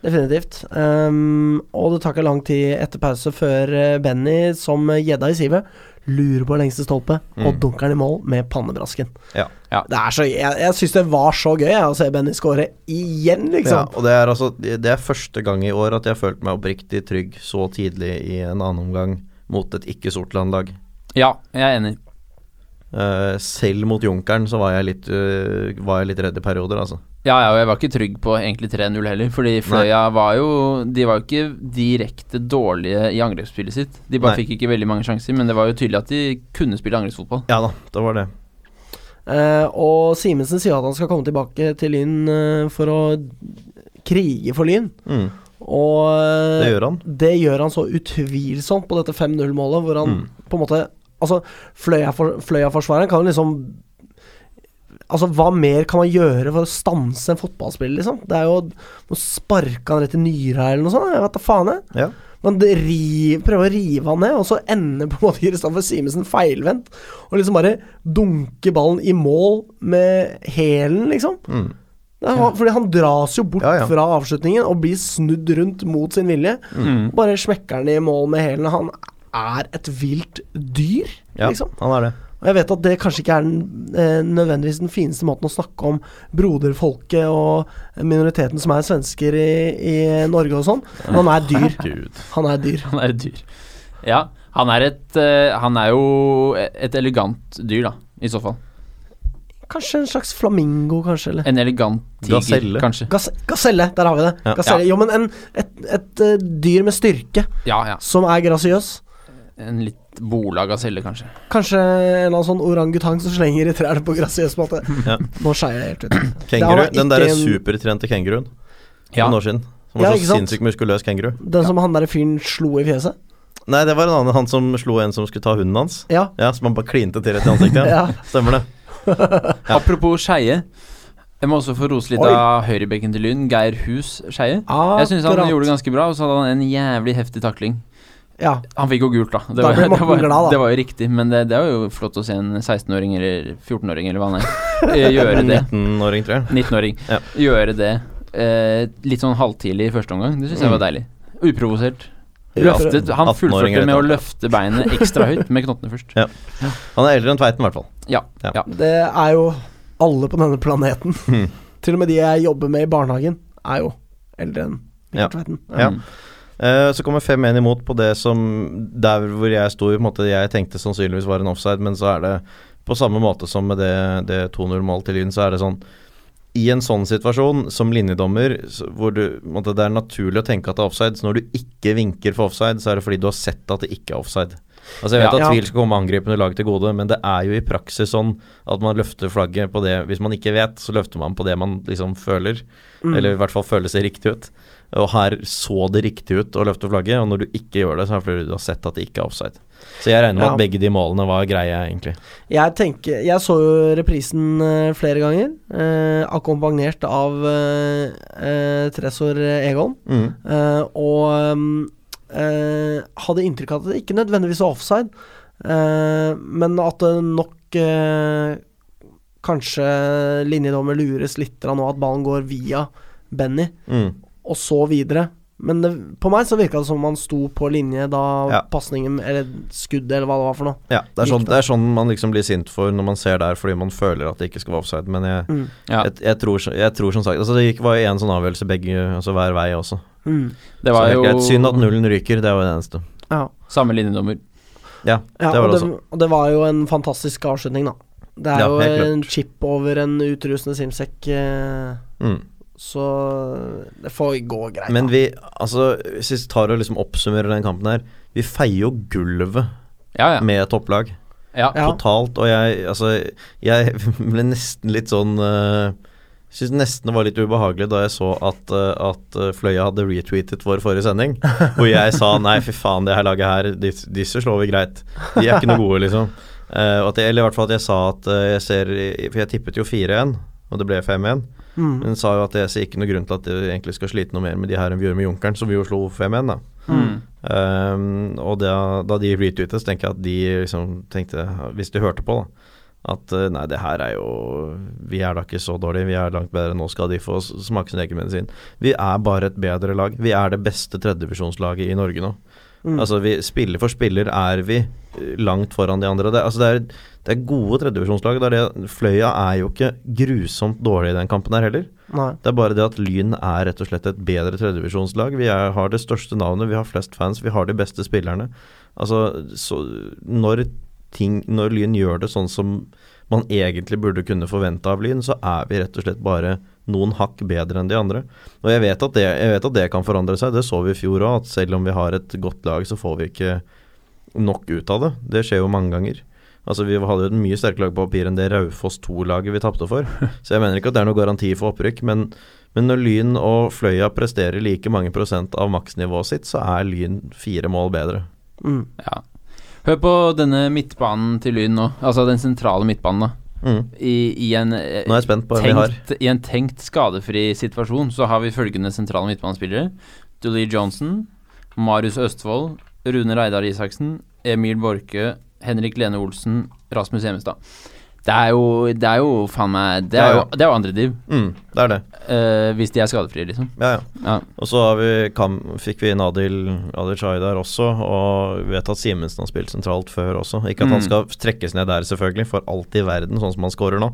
[SPEAKER 1] Definitivt. Ehm, og det tar ikke lang tid etter pause før eh, Benny, som eh, gjedda i sivet, lurer på lengste stolpe og
[SPEAKER 3] Mm.
[SPEAKER 1] dunker den i mål med pannebrasken.
[SPEAKER 3] Ja.
[SPEAKER 2] Ja.
[SPEAKER 1] Det er så, jeg jeg syns det var så gøy jeg, å se Benny score igjen,
[SPEAKER 3] Ja,
[SPEAKER 1] liksom.
[SPEAKER 3] og det er altså Det er første gang i år at jeg har følt meg oppriktig trygg så tidlig i en annen omgang mot et ikke-Sortland-lag.
[SPEAKER 2] Ja, jeg er enig.
[SPEAKER 3] Eh, selv mot Junkeren så var jeg litt, eh, var jeg litt redd i perioder, altså.
[SPEAKER 2] Ja, ja, og jeg var ikke trygg på egentlig 3-0 heller, fordi Fløya var jo De var jo ikke direkte dårlige i angrepsspillet sitt. De bare
[SPEAKER 3] Nei.
[SPEAKER 2] fikk ikke veldig mange sjanser, men det var jo tydelig at de kunne spille angrepsfotball. [laughs]
[SPEAKER 3] Ja da, det var det.
[SPEAKER 1] Eh, og Simensen sier at han skal komme tilbake til Lyn eh, for å krige for Lyn.
[SPEAKER 3] Mm.
[SPEAKER 1] Og eh,
[SPEAKER 3] Det gjør han.
[SPEAKER 1] Det gjør han så utvilsomt på dette 5-0-målet, hvor han
[SPEAKER 3] Mm.
[SPEAKER 1] på en måte Altså, Fløya-for- Fløya-forsvareren kan jo liksom Altså, hva mer kan man gjøre for å stanse en fotballspiller, liksom? Det er jo å sparke han rett i nyra eller noe sånt, jeg vet da faen, jeg.
[SPEAKER 3] Ja.
[SPEAKER 1] Man det ri- prøver å rive han ned, og så ender på en måte Kristoffer Simensen feilvendt. Og liksom bare dunker ballen i mål med hælen, liksom.
[SPEAKER 3] Mm.
[SPEAKER 1] Det er han, Fordi han dras jo bort
[SPEAKER 3] Ja, ja.
[SPEAKER 1] fra avslutningen og blir snudd rundt mot sin vilje.
[SPEAKER 3] Mm.
[SPEAKER 1] Bare smekker han i mål med hælen. Han er et vilt dyr,
[SPEAKER 3] ja,
[SPEAKER 1] liksom.
[SPEAKER 3] han er det.
[SPEAKER 1] Og jeg vet at det kanskje ikke er den, eh, nødvendigvis den fineste måten å snakke om broderfolket og minoriteten som er svensker i, i Norge og sånn, men han er
[SPEAKER 2] [laughs]
[SPEAKER 1] dyr.
[SPEAKER 3] Gud.
[SPEAKER 1] Han er dyr.
[SPEAKER 2] Han er et dyr. Ja, han er et eh, Han er jo et elegant dyr, da, i så fall.
[SPEAKER 1] Kanskje en slags flamingo, kanskje? Eller
[SPEAKER 2] En elegant tiger,
[SPEAKER 3] Gaselle.
[SPEAKER 2] kanskje.
[SPEAKER 1] Gas gaselle. Der har vi det.
[SPEAKER 3] Ja.
[SPEAKER 1] Gaselle. Jo, men en, et, et eh, dyr med styrke,
[SPEAKER 2] Ja, ja.
[SPEAKER 1] som er grasiøs.
[SPEAKER 2] En litt bola gaselle, kanskje.
[SPEAKER 1] Kanskje en eller annen sånn orangutang som slenger i trærne på grasiøs
[SPEAKER 2] [laughs]
[SPEAKER 1] måte.
[SPEAKER 3] Ja.
[SPEAKER 1] Nå skeier jeg helt ut.
[SPEAKER 2] [clears throat]
[SPEAKER 3] Kenguru,
[SPEAKER 1] Det var
[SPEAKER 3] den
[SPEAKER 1] ikke
[SPEAKER 3] derre
[SPEAKER 1] en-
[SPEAKER 3] supertrente kenguruen for
[SPEAKER 2] Ja.
[SPEAKER 3] noen år siden. Som var
[SPEAKER 1] Ja, ikke
[SPEAKER 3] så
[SPEAKER 1] sant?
[SPEAKER 3] sinnssykt muskuløs kenguru.
[SPEAKER 1] Den som han derre fyren slo i fjeset?
[SPEAKER 3] Nei, det var en annen han som slo en som skulle ta hunden hans.
[SPEAKER 1] Ja.
[SPEAKER 3] Ja, Som han bare klinte til rett i ansiktet.
[SPEAKER 1] Ja.
[SPEAKER 3] [laughs] ja. Stemmer det.
[SPEAKER 2] Apropos skeie. Jeg må også få rose litt
[SPEAKER 1] Oi.
[SPEAKER 2] av høyrebekken til Lyn, Geir Hus Skeie. Jeg syns han
[SPEAKER 1] Akkurat.
[SPEAKER 2] gjorde det ganske bra, og så hadde han en jævlig heftig takling.
[SPEAKER 1] Ja.
[SPEAKER 2] Han fikk jo gult, da.
[SPEAKER 1] Da ble Morten
[SPEAKER 2] [laughs] det,
[SPEAKER 1] glad,
[SPEAKER 2] var,
[SPEAKER 1] da.
[SPEAKER 2] det var jo riktig, men det, det er jo flott å se en 16-åring eller 14-åring eller hva han er, eh, gjøre
[SPEAKER 1] [laughs]
[SPEAKER 2] det.
[SPEAKER 3] 19-åring, tror jeg.
[SPEAKER 2] 19-åring.
[SPEAKER 3] Ja.
[SPEAKER 2] Gjøre det eh, litt sånn halvtidlig i første omgang. Det syns
[SPEAKER 1] Mm.
[SPEAKER 2] jeg var deilig. Uprovosert.
[SPEAKER 3] Ja,
[SPEAKER 2] Løftet, han
[SPEAKER 3] 18-åring
[SPEAKER 2] fullførte
[SPEAKER 3] er
[SPEAKER 2] med å
[SPEAKER 3] det.
[SPEAKER 2] løfte beinet ekstra høyt med knottene først.
[SPEAKER 3] Ja. Han er eldre enn Tveiten, i hvert fall.
[SPEAKER 2] Ja.
[SPEAKER 3] Ja.
[SPEAKER 2] ja.
[SPEAKER 1] Det er jo alle på denne planeten. Til og med de jeg jobber med i barnehagen, er jo eldre enn
[SPEAKER 3] Ja.
[SPEAKER 1] Mikkel Tveiten.
[SPEAKER 3] Ja. Eh, så kommer 5-1 imot på det som Der hvor jeg sto, på en måte jeg tenkte sannsynligvis var en offside, men så er det på samme måte som med det, det 2-0-målet til Lyn, så er det sånn I en sånn situasjon, som linjedommer, så- hvor du, på en måte, det er naturlig å tenke at det er offside, så når du ikke vinker for offside, så er det fordi du har sett at det ikke er offside. Altså Jeg vet
[SPEAKER 1] Ja.
[SPEAKER 3] at
[SPEAKER 1] Ja.
[SPEAKER 3] tvil skal komme angripende lag til gode, men det er jo i praksis sånn at man løfter flagget på det Hvis man ikke vet, så løfter man på det man liksom føler.
[SPEAKER 1] Mm.
[SPEAKER 3] Eller i hvert fall føles det riktig ut. Og her så det riktig ut å løfte flagget, og når du ikke gjør det, så er det fordi du har sett at det ikke er offside. Så jeg regner med
[SPEAKER 1] Ja.
[SPEAKER 3] at begge de målene var greie, egentlig.
[SPEAKER 1] Jeg tenker Jeg så jo reprisen eh, flere ganger, eh, akkompagnert av eh, eh, Tresor Egon.
[SPEAKER 3] Mm.
[SPEAKER 1] Eh, og mm, eh, hadde inntrykk av at det ikke nødvendigvis var offside, eh, men at det nok eh, kanskje linjedommer lures litt av nå, at ballen går via Benny,
[SPEAKER 3] Mm.
[SPEAKER 1] og så videre. Men det, på meg så virka det som om han sto på linje da
[SPEAKER 3] Ja.
[SPEAKER 1] pasningen, eller skuddet, eller hva det var for noe.
[SPEAKER 3] Ja, det er, sånn,
[SPEAKER 1] Riktig.
[SPEAKER 3] det er sånn man liksom blir sint for når man ser der fordi man føler at det ikke skal være offside, men jeg,
[SPEAKER 1] Mm.
[SPEAKER 2] Ja.
[SPEAKER 3] jeg, jeg, tror, så- jeg tror som sagt Altså Det gikk, var jo én sånn avgjørelse begge, altså hver vei også.
[SPEAKER 1] Mm.
[SPEAKER 2] Det
[SPEAKER 3] så
[SPEAKER 2] var
[SPEAKER 3] det
[SPEAKER 2] jo
[SPEAKER 3] er greit. Synd at nullen ryker, det var jo det eneste.
[SPEAKER 1] Ja.
[SPEAKER 2] samme linjedommer.
[SPEAKER 3] Ja,
[SPEAKER 1] Ja,
[SPEAKER 3] det var
[SPEAKER 1] og,
[SPEAKER 3] det
[SPEAKER 1] det,
[SPEAKER 3] også.
[SPEAKER 1] og det var jo en fantastisk avslutning, da. Det er
[SPEAKER 3] Ja, helt
[SPEAKER 1] jo
[SPEAKER 3] klart.
[SPEAKER 1] en chip over en utrusende simsekk, eh,
[SPEAKER 3] Mm.
[SPEAKER 1] så det får gå greit.
[SPEAKER 3] Men
[SPEAKER 1] da.
[SPEAKER 3] vi, altså hvis vi tar og liksom oppsummerer den kampen her, vi feier jo gulvet
[SPEAKER 2] Ja, ja.
[SPEAKER 3] med et topplag.
[SPEAKER 2] ja.
[SPEAKER 1] ja.
[SPEAKER 3] totalt. Og jeg, altså, jeg [laughs] ble nesten litt sånn uh, Syns nesten det var litt ubehagelig da jeg så at, eh, at eh, Fløya hadde retweetet vår forrige sending. Hvor jeg sa nei, fy faen, det her laget her, dis- disse slår vi greit. De er ikke noe gode, liksom. Eh, og at jeg, eller i hvert fall at jeg sa at eh, jeg ser i- For jeg tippet jo 4-1, og det ble 5-1.
[SPEAKER 1] Mm.
[SPEAKER 3] Men sa jo at jeg ser ikke noe grunn til at vi egentlig skal slite noe mer med de her enn vi gjorde med Junkeren, som vi jo slo 5-1, da.
[SPEAKER 2] Mm.
[SPEAKER 3] Um, og da, da de retweetet, så tenker jeg at de liksom tenkte, hvis de hørte på, da, at eh, nei, det her er jo Vi er da ikke så dårlige, vi er langt bedre. Nå skal de få s- smake sin egen medisin. Vi er bare et bedre lag. Vi er det beste tredjedivisjonslaget i Norge nå.
[SPEAKER 1] Mm.
[SPEAKER 3] Altså vi, Spiller for spiller er vi eh, langt foran de andre. Det, altså, det, er, det er gode tredjedivisjonslag. Det er det- Fløya er jo ikke grusomt dårlig i den kampen her heller.
[SPEAKER 1] Nei.
[SPEAKER 3] Det er bare det at Lyn er rett og slett et bedre tredjevisjonslag. Vi er, har det største navnet, vi har flest fans, vi har de beste spillerne. Altså, så når, ting, når Lyn gjør det sånn som man egentlig burde kunne forvente av Lyn, så er vi rett og slett bare noen hakk bedre enn de andre. Og jeg vet at det, jeg vet at det kan forandre seg, det så vi i fjor òg, at selv om vi har et godt lag, så får vi ikke nok ut av det. Det skjer jo mange ganger. Altså Vi hadde jo et mye sterkere lag på papir enn det Raufoss 2-laget vi tapte for. Så jeg mener ikke at det er noen garanti for opprykk, men, men når Lyn og Fløya presterer like mange prosent av maksnivået sitt, så er Lyn fire mål bedre.
[SPEAKER 1] Mm.
[SPEAKER 2] Ja. Hør på denne midtbanen til Lyn nå, altså den sentrale midtbanen, da.
[SPEAKER 3] Mm.
[SPEAKER 2] I, i, en, eh,
[SPEAKER 3] Nå er jeg spent på hvem vi har.
[SPEAKER 2] tenkt, I en tenkt skadefri situasjon så har vi følgende sentrale midtbanespillere. Dooley Johnson, Marius Østfold, Rune Reidar Isaksen, Emil Borke, Henrik Lene Olsen, Rasmus Hjemmestad. Det er jo, det er jo faen meg Det er jo, det er jo andre div,
[SPEAKER 3] Mm, det er det.
[SPEAKER 2] eh, hvis de er skadefrie, liksom.
[SPEAKER 3] Ja, ja.
[SPEAKER 2] Ja.
[SPEAKER 3] Og så har vi kam, fikk vi inn Adil, Adil Shai der også, og vi vet at Simensen har spilt sentralt før også. Ikke at
[SPEAKER 2] Mm.
[SPEAKER 3] han skal trekkes ned der, selvfølgelig, for alt i verden, sånn som han scorer nå.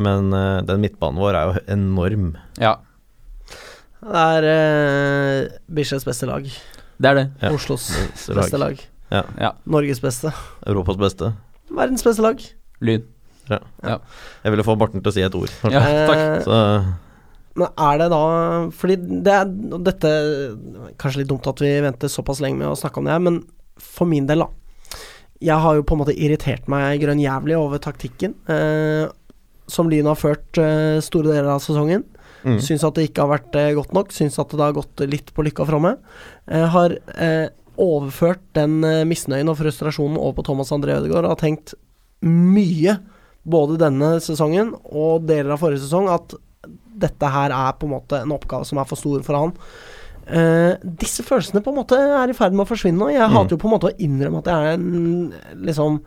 [SPEAKER 3] Men eh, den midtbanen vår er jo enorm.
[SPEAKER 2] ja.
[SPEAKER 1] Det er eh, Bislets beste lag.
[SPEAKER 2] Det er det.
[SPEAKER 3] Ja.
[SPEAKER 1] Oslos
[SPEAKER 3] lag.
[SPEAKER 1] beste lag.
[SPEAKER 3] Ja.
[SPEAKER 2] Ja.
[SPEAKER 1] Norges beste.
[SPEAKER 3] Europas beste.
[SPEAKER 1] Verdens beste lag.
[SPEAKER 2] Lyn.
[SPEAKER 3] Jeg ville få Barten til å si et ord.
[SPEAKER 2] Ja, [laughs] takk.
[SPEAKER 1] Eh,
[SPEAKER 3] Så
[SPEAKER 1] Men er det da Fordi det er og dette Kanskje litt dumt at vi venter såpass lenge med å snakke om det her, men for min del, da. Jeg har jo på en måte irritert meg grønn jævlig over taktikken eh, som Lyn har ført eh, store deler av sesongen.
[SPEAKER 3] mm.
[SPEAKER 1] Syns at det ikke har vært eh, godt nok. Syns at det har gått litt på lykka framme. Eh, har eh, overført den eh, misnøyen og frustrasjonen over på Thomas André Ødegaard og har tenkt mye, både denne sesongen og deler av forrige sesong, at dette her er på en måte en oppgave som er for stor for han. Eh, disse følelsene på en måte er i ferd med å forsvinne nå. Jeg
[SPEAKER 3] Mm.
[SPEAKER 1] hater jo på en måte å innrømme at jeg er en liksom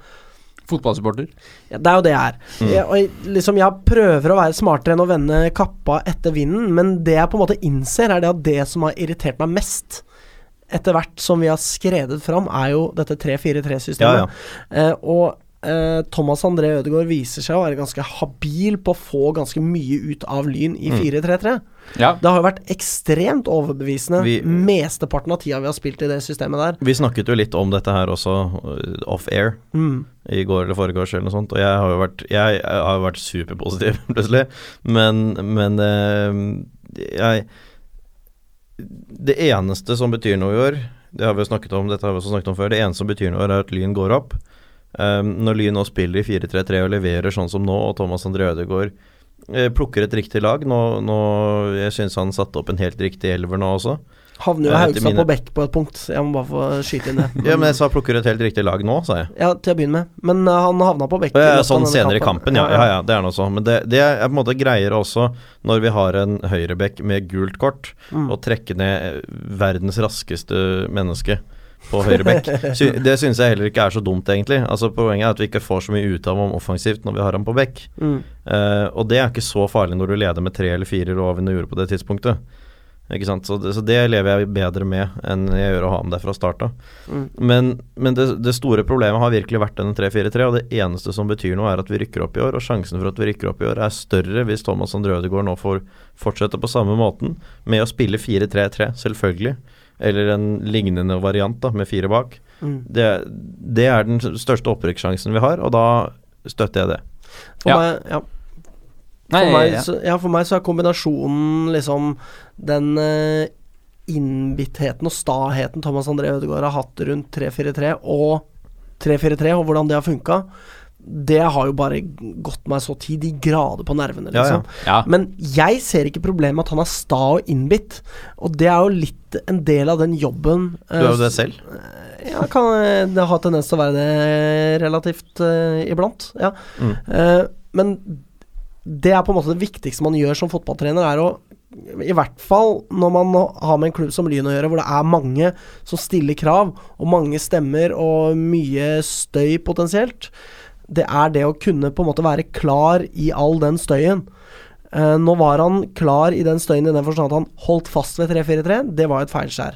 [SPEAKER 2] Fotballsupporter.
[SPEAKER 1] ja, det er jo det jeg er.
[SPEAKER 3] Mm.
[SPEAKER 1] Jeg, og jeg, liksom, jeg prøver å være smartere enn å vende kappa etter vinden, men det jeg på en måte innser, er det at det som har irritert meg mest etter hvert som vi har skredet fram, er jo dette 3-4-3-systemet.
[SPEAKER 3] Ja, ja.
[SPEAKER 1] Eh, og eh, Thomas André Ødegaard viser seg å være ganske habil på å få ganske mye ut av Lyn
[SPEAKER 3] Mm.
[SPEAKER 1] i 4-3-3.
[SPEAKER 2] Ja.
[SPEAKER 1] Det har jo vært ekstremt overbevisende
[SPEAKER 3] Vi-
[SPEAKER 1] mesteparten av tida vi har spilt i det systemet der.
[SPEAKER 3] Vi snakket jo litt om dette her også eh, off air
[SPEAKER 1] Mm.
[SPEAKER 3] i går eller foregårs eller noe sånt, og jeg har jo vært, jeg eh, har jo vært superpositiv [laughs] plutselig, men, men eh, jeg Det eneste som betyr noe i år, det har vi jo snakket om, dette har vi også snakket om før, det eneste som betyr noe i år, er at Lyn går opp. Eh, når Lyn nå spiller i 4-3-3 og leverer sånn som nå, og Thomas André Ødegaard eh, plukker et riktig lag Nå, nå Jeg syns han satte opp en helt riktig elver nå også.
[SPEAKER 1] Havner
[SPEAKER 3] Eh,
[SPEAKER 1] jo
[SPEAKER 3] etter
[SPEAKER 1] Haugstad
[SPEAKER 3] mine-
[SPEAKER 1] på bekk på et punkt. Jeg må bare få skyte inn det.
[SPEAKER 3] [laughs] Ja, men jeg sa 'plukker et helt riktig lag nå', sa jeg.
[SPEAKER 1] Ja, til å begynne med. Men eh, han havna på bekken.
[SPEAKER 3] Og
[SPEAKER 1] i løpet
[SPEAKER 3] ja,
[SPEAKER 1] av
[SPEAKER 3] sånn
[SPEAKER 1] denne
[SPEAKER 3] senere i kampen, ja. ja, ja det er noe sånn. Men det, det er på en måte greiere også når vi har en høyrebekk med gult kort,
[SPEAKER 1] Mm.
[SPEAKER 3] å trekke ned eh, verdens raskeste menneske på [laughs] høyrebekk. Sy det syns jeg heller ikke er så dumt, egentlig. Altså Poenget er at vi ikke får så mye ut av ham offensivt når vi har ham på bekk.
[SPEAKER 1] Mm.
[SPEAKER 3] Eh, og det er ikke så farlig når du leder med tre eller fire over enn du gjorde på det tidspunktet. Ikke sant? Så, det, så det lever jeg bedre med enn jeg gjør å ha med det fra start av.
[SPEAKER 1] Mm.
[SPEAKER 3] Men, men det, det store problemet har virkelig vært denne 3-4-3, og det eneste som betyr noe, er at vi rykker opp i år. Og sjansen for at vi rykker opp i år er større hvis Thomas André Ødegaard nå får fortsette på samme måten med å spille 4-3-3, selvfølgelig. Eller en lignende variant da, med fire bak.
[SPEAKER 1] Mm.
[SPEAKER 3] Det, det er den største opprykkssjansen vi har, og da støtter jeg det.
[SPEAKER 1] For,
[SPEAKER 2] Ja.
[SPEAKER 1] Meg, ja.
[SPEAKER 2] Nei,
[SPEAKER 1] for, meg,
[SPEAKER 2] ja.
[SPEAKER 1] så, ja, for meg så er kombinasjonen liksom den eh, innbittheten og staheten Thomas André Ødegaard har hatt rundt 3-4-3 og 3-4-3, og hvordan det har funka, det har jo bare gått meg så til de grader på nervene,
[SPEAKER 3] Ja,
[SPEAKER 1] liksom.
[SPEAKER 3] ja.
[SPEAKER 2] ja.
[SPEAKER 1] Men jeg ser ikke problemet med at han er sta og innbitt, og det er jo litt en del av den jobben eh,
[SPEAKER 3] Du er jo det selv.
[SPEAKER 1] Ja, kan, eh, det har tendens til å være det relativt eh, iblant. Ja.
[SPEAKER 3] Mm.
[SPEAKER 1] Eh, men det er på en måte det viktigste man gjør som fotballtrener, er å I hvert fall når man har med en klubb som Lyn å gjøre, hvor det er mange som stiller krav, og mange stemmer og mye støy potensielt. Det er det å kunne på en måte være klar i all den støyen. Eh, nå var han klar i den støyen i den forstand at han holdt fast ved 3-4-3. Det var et feilskjær.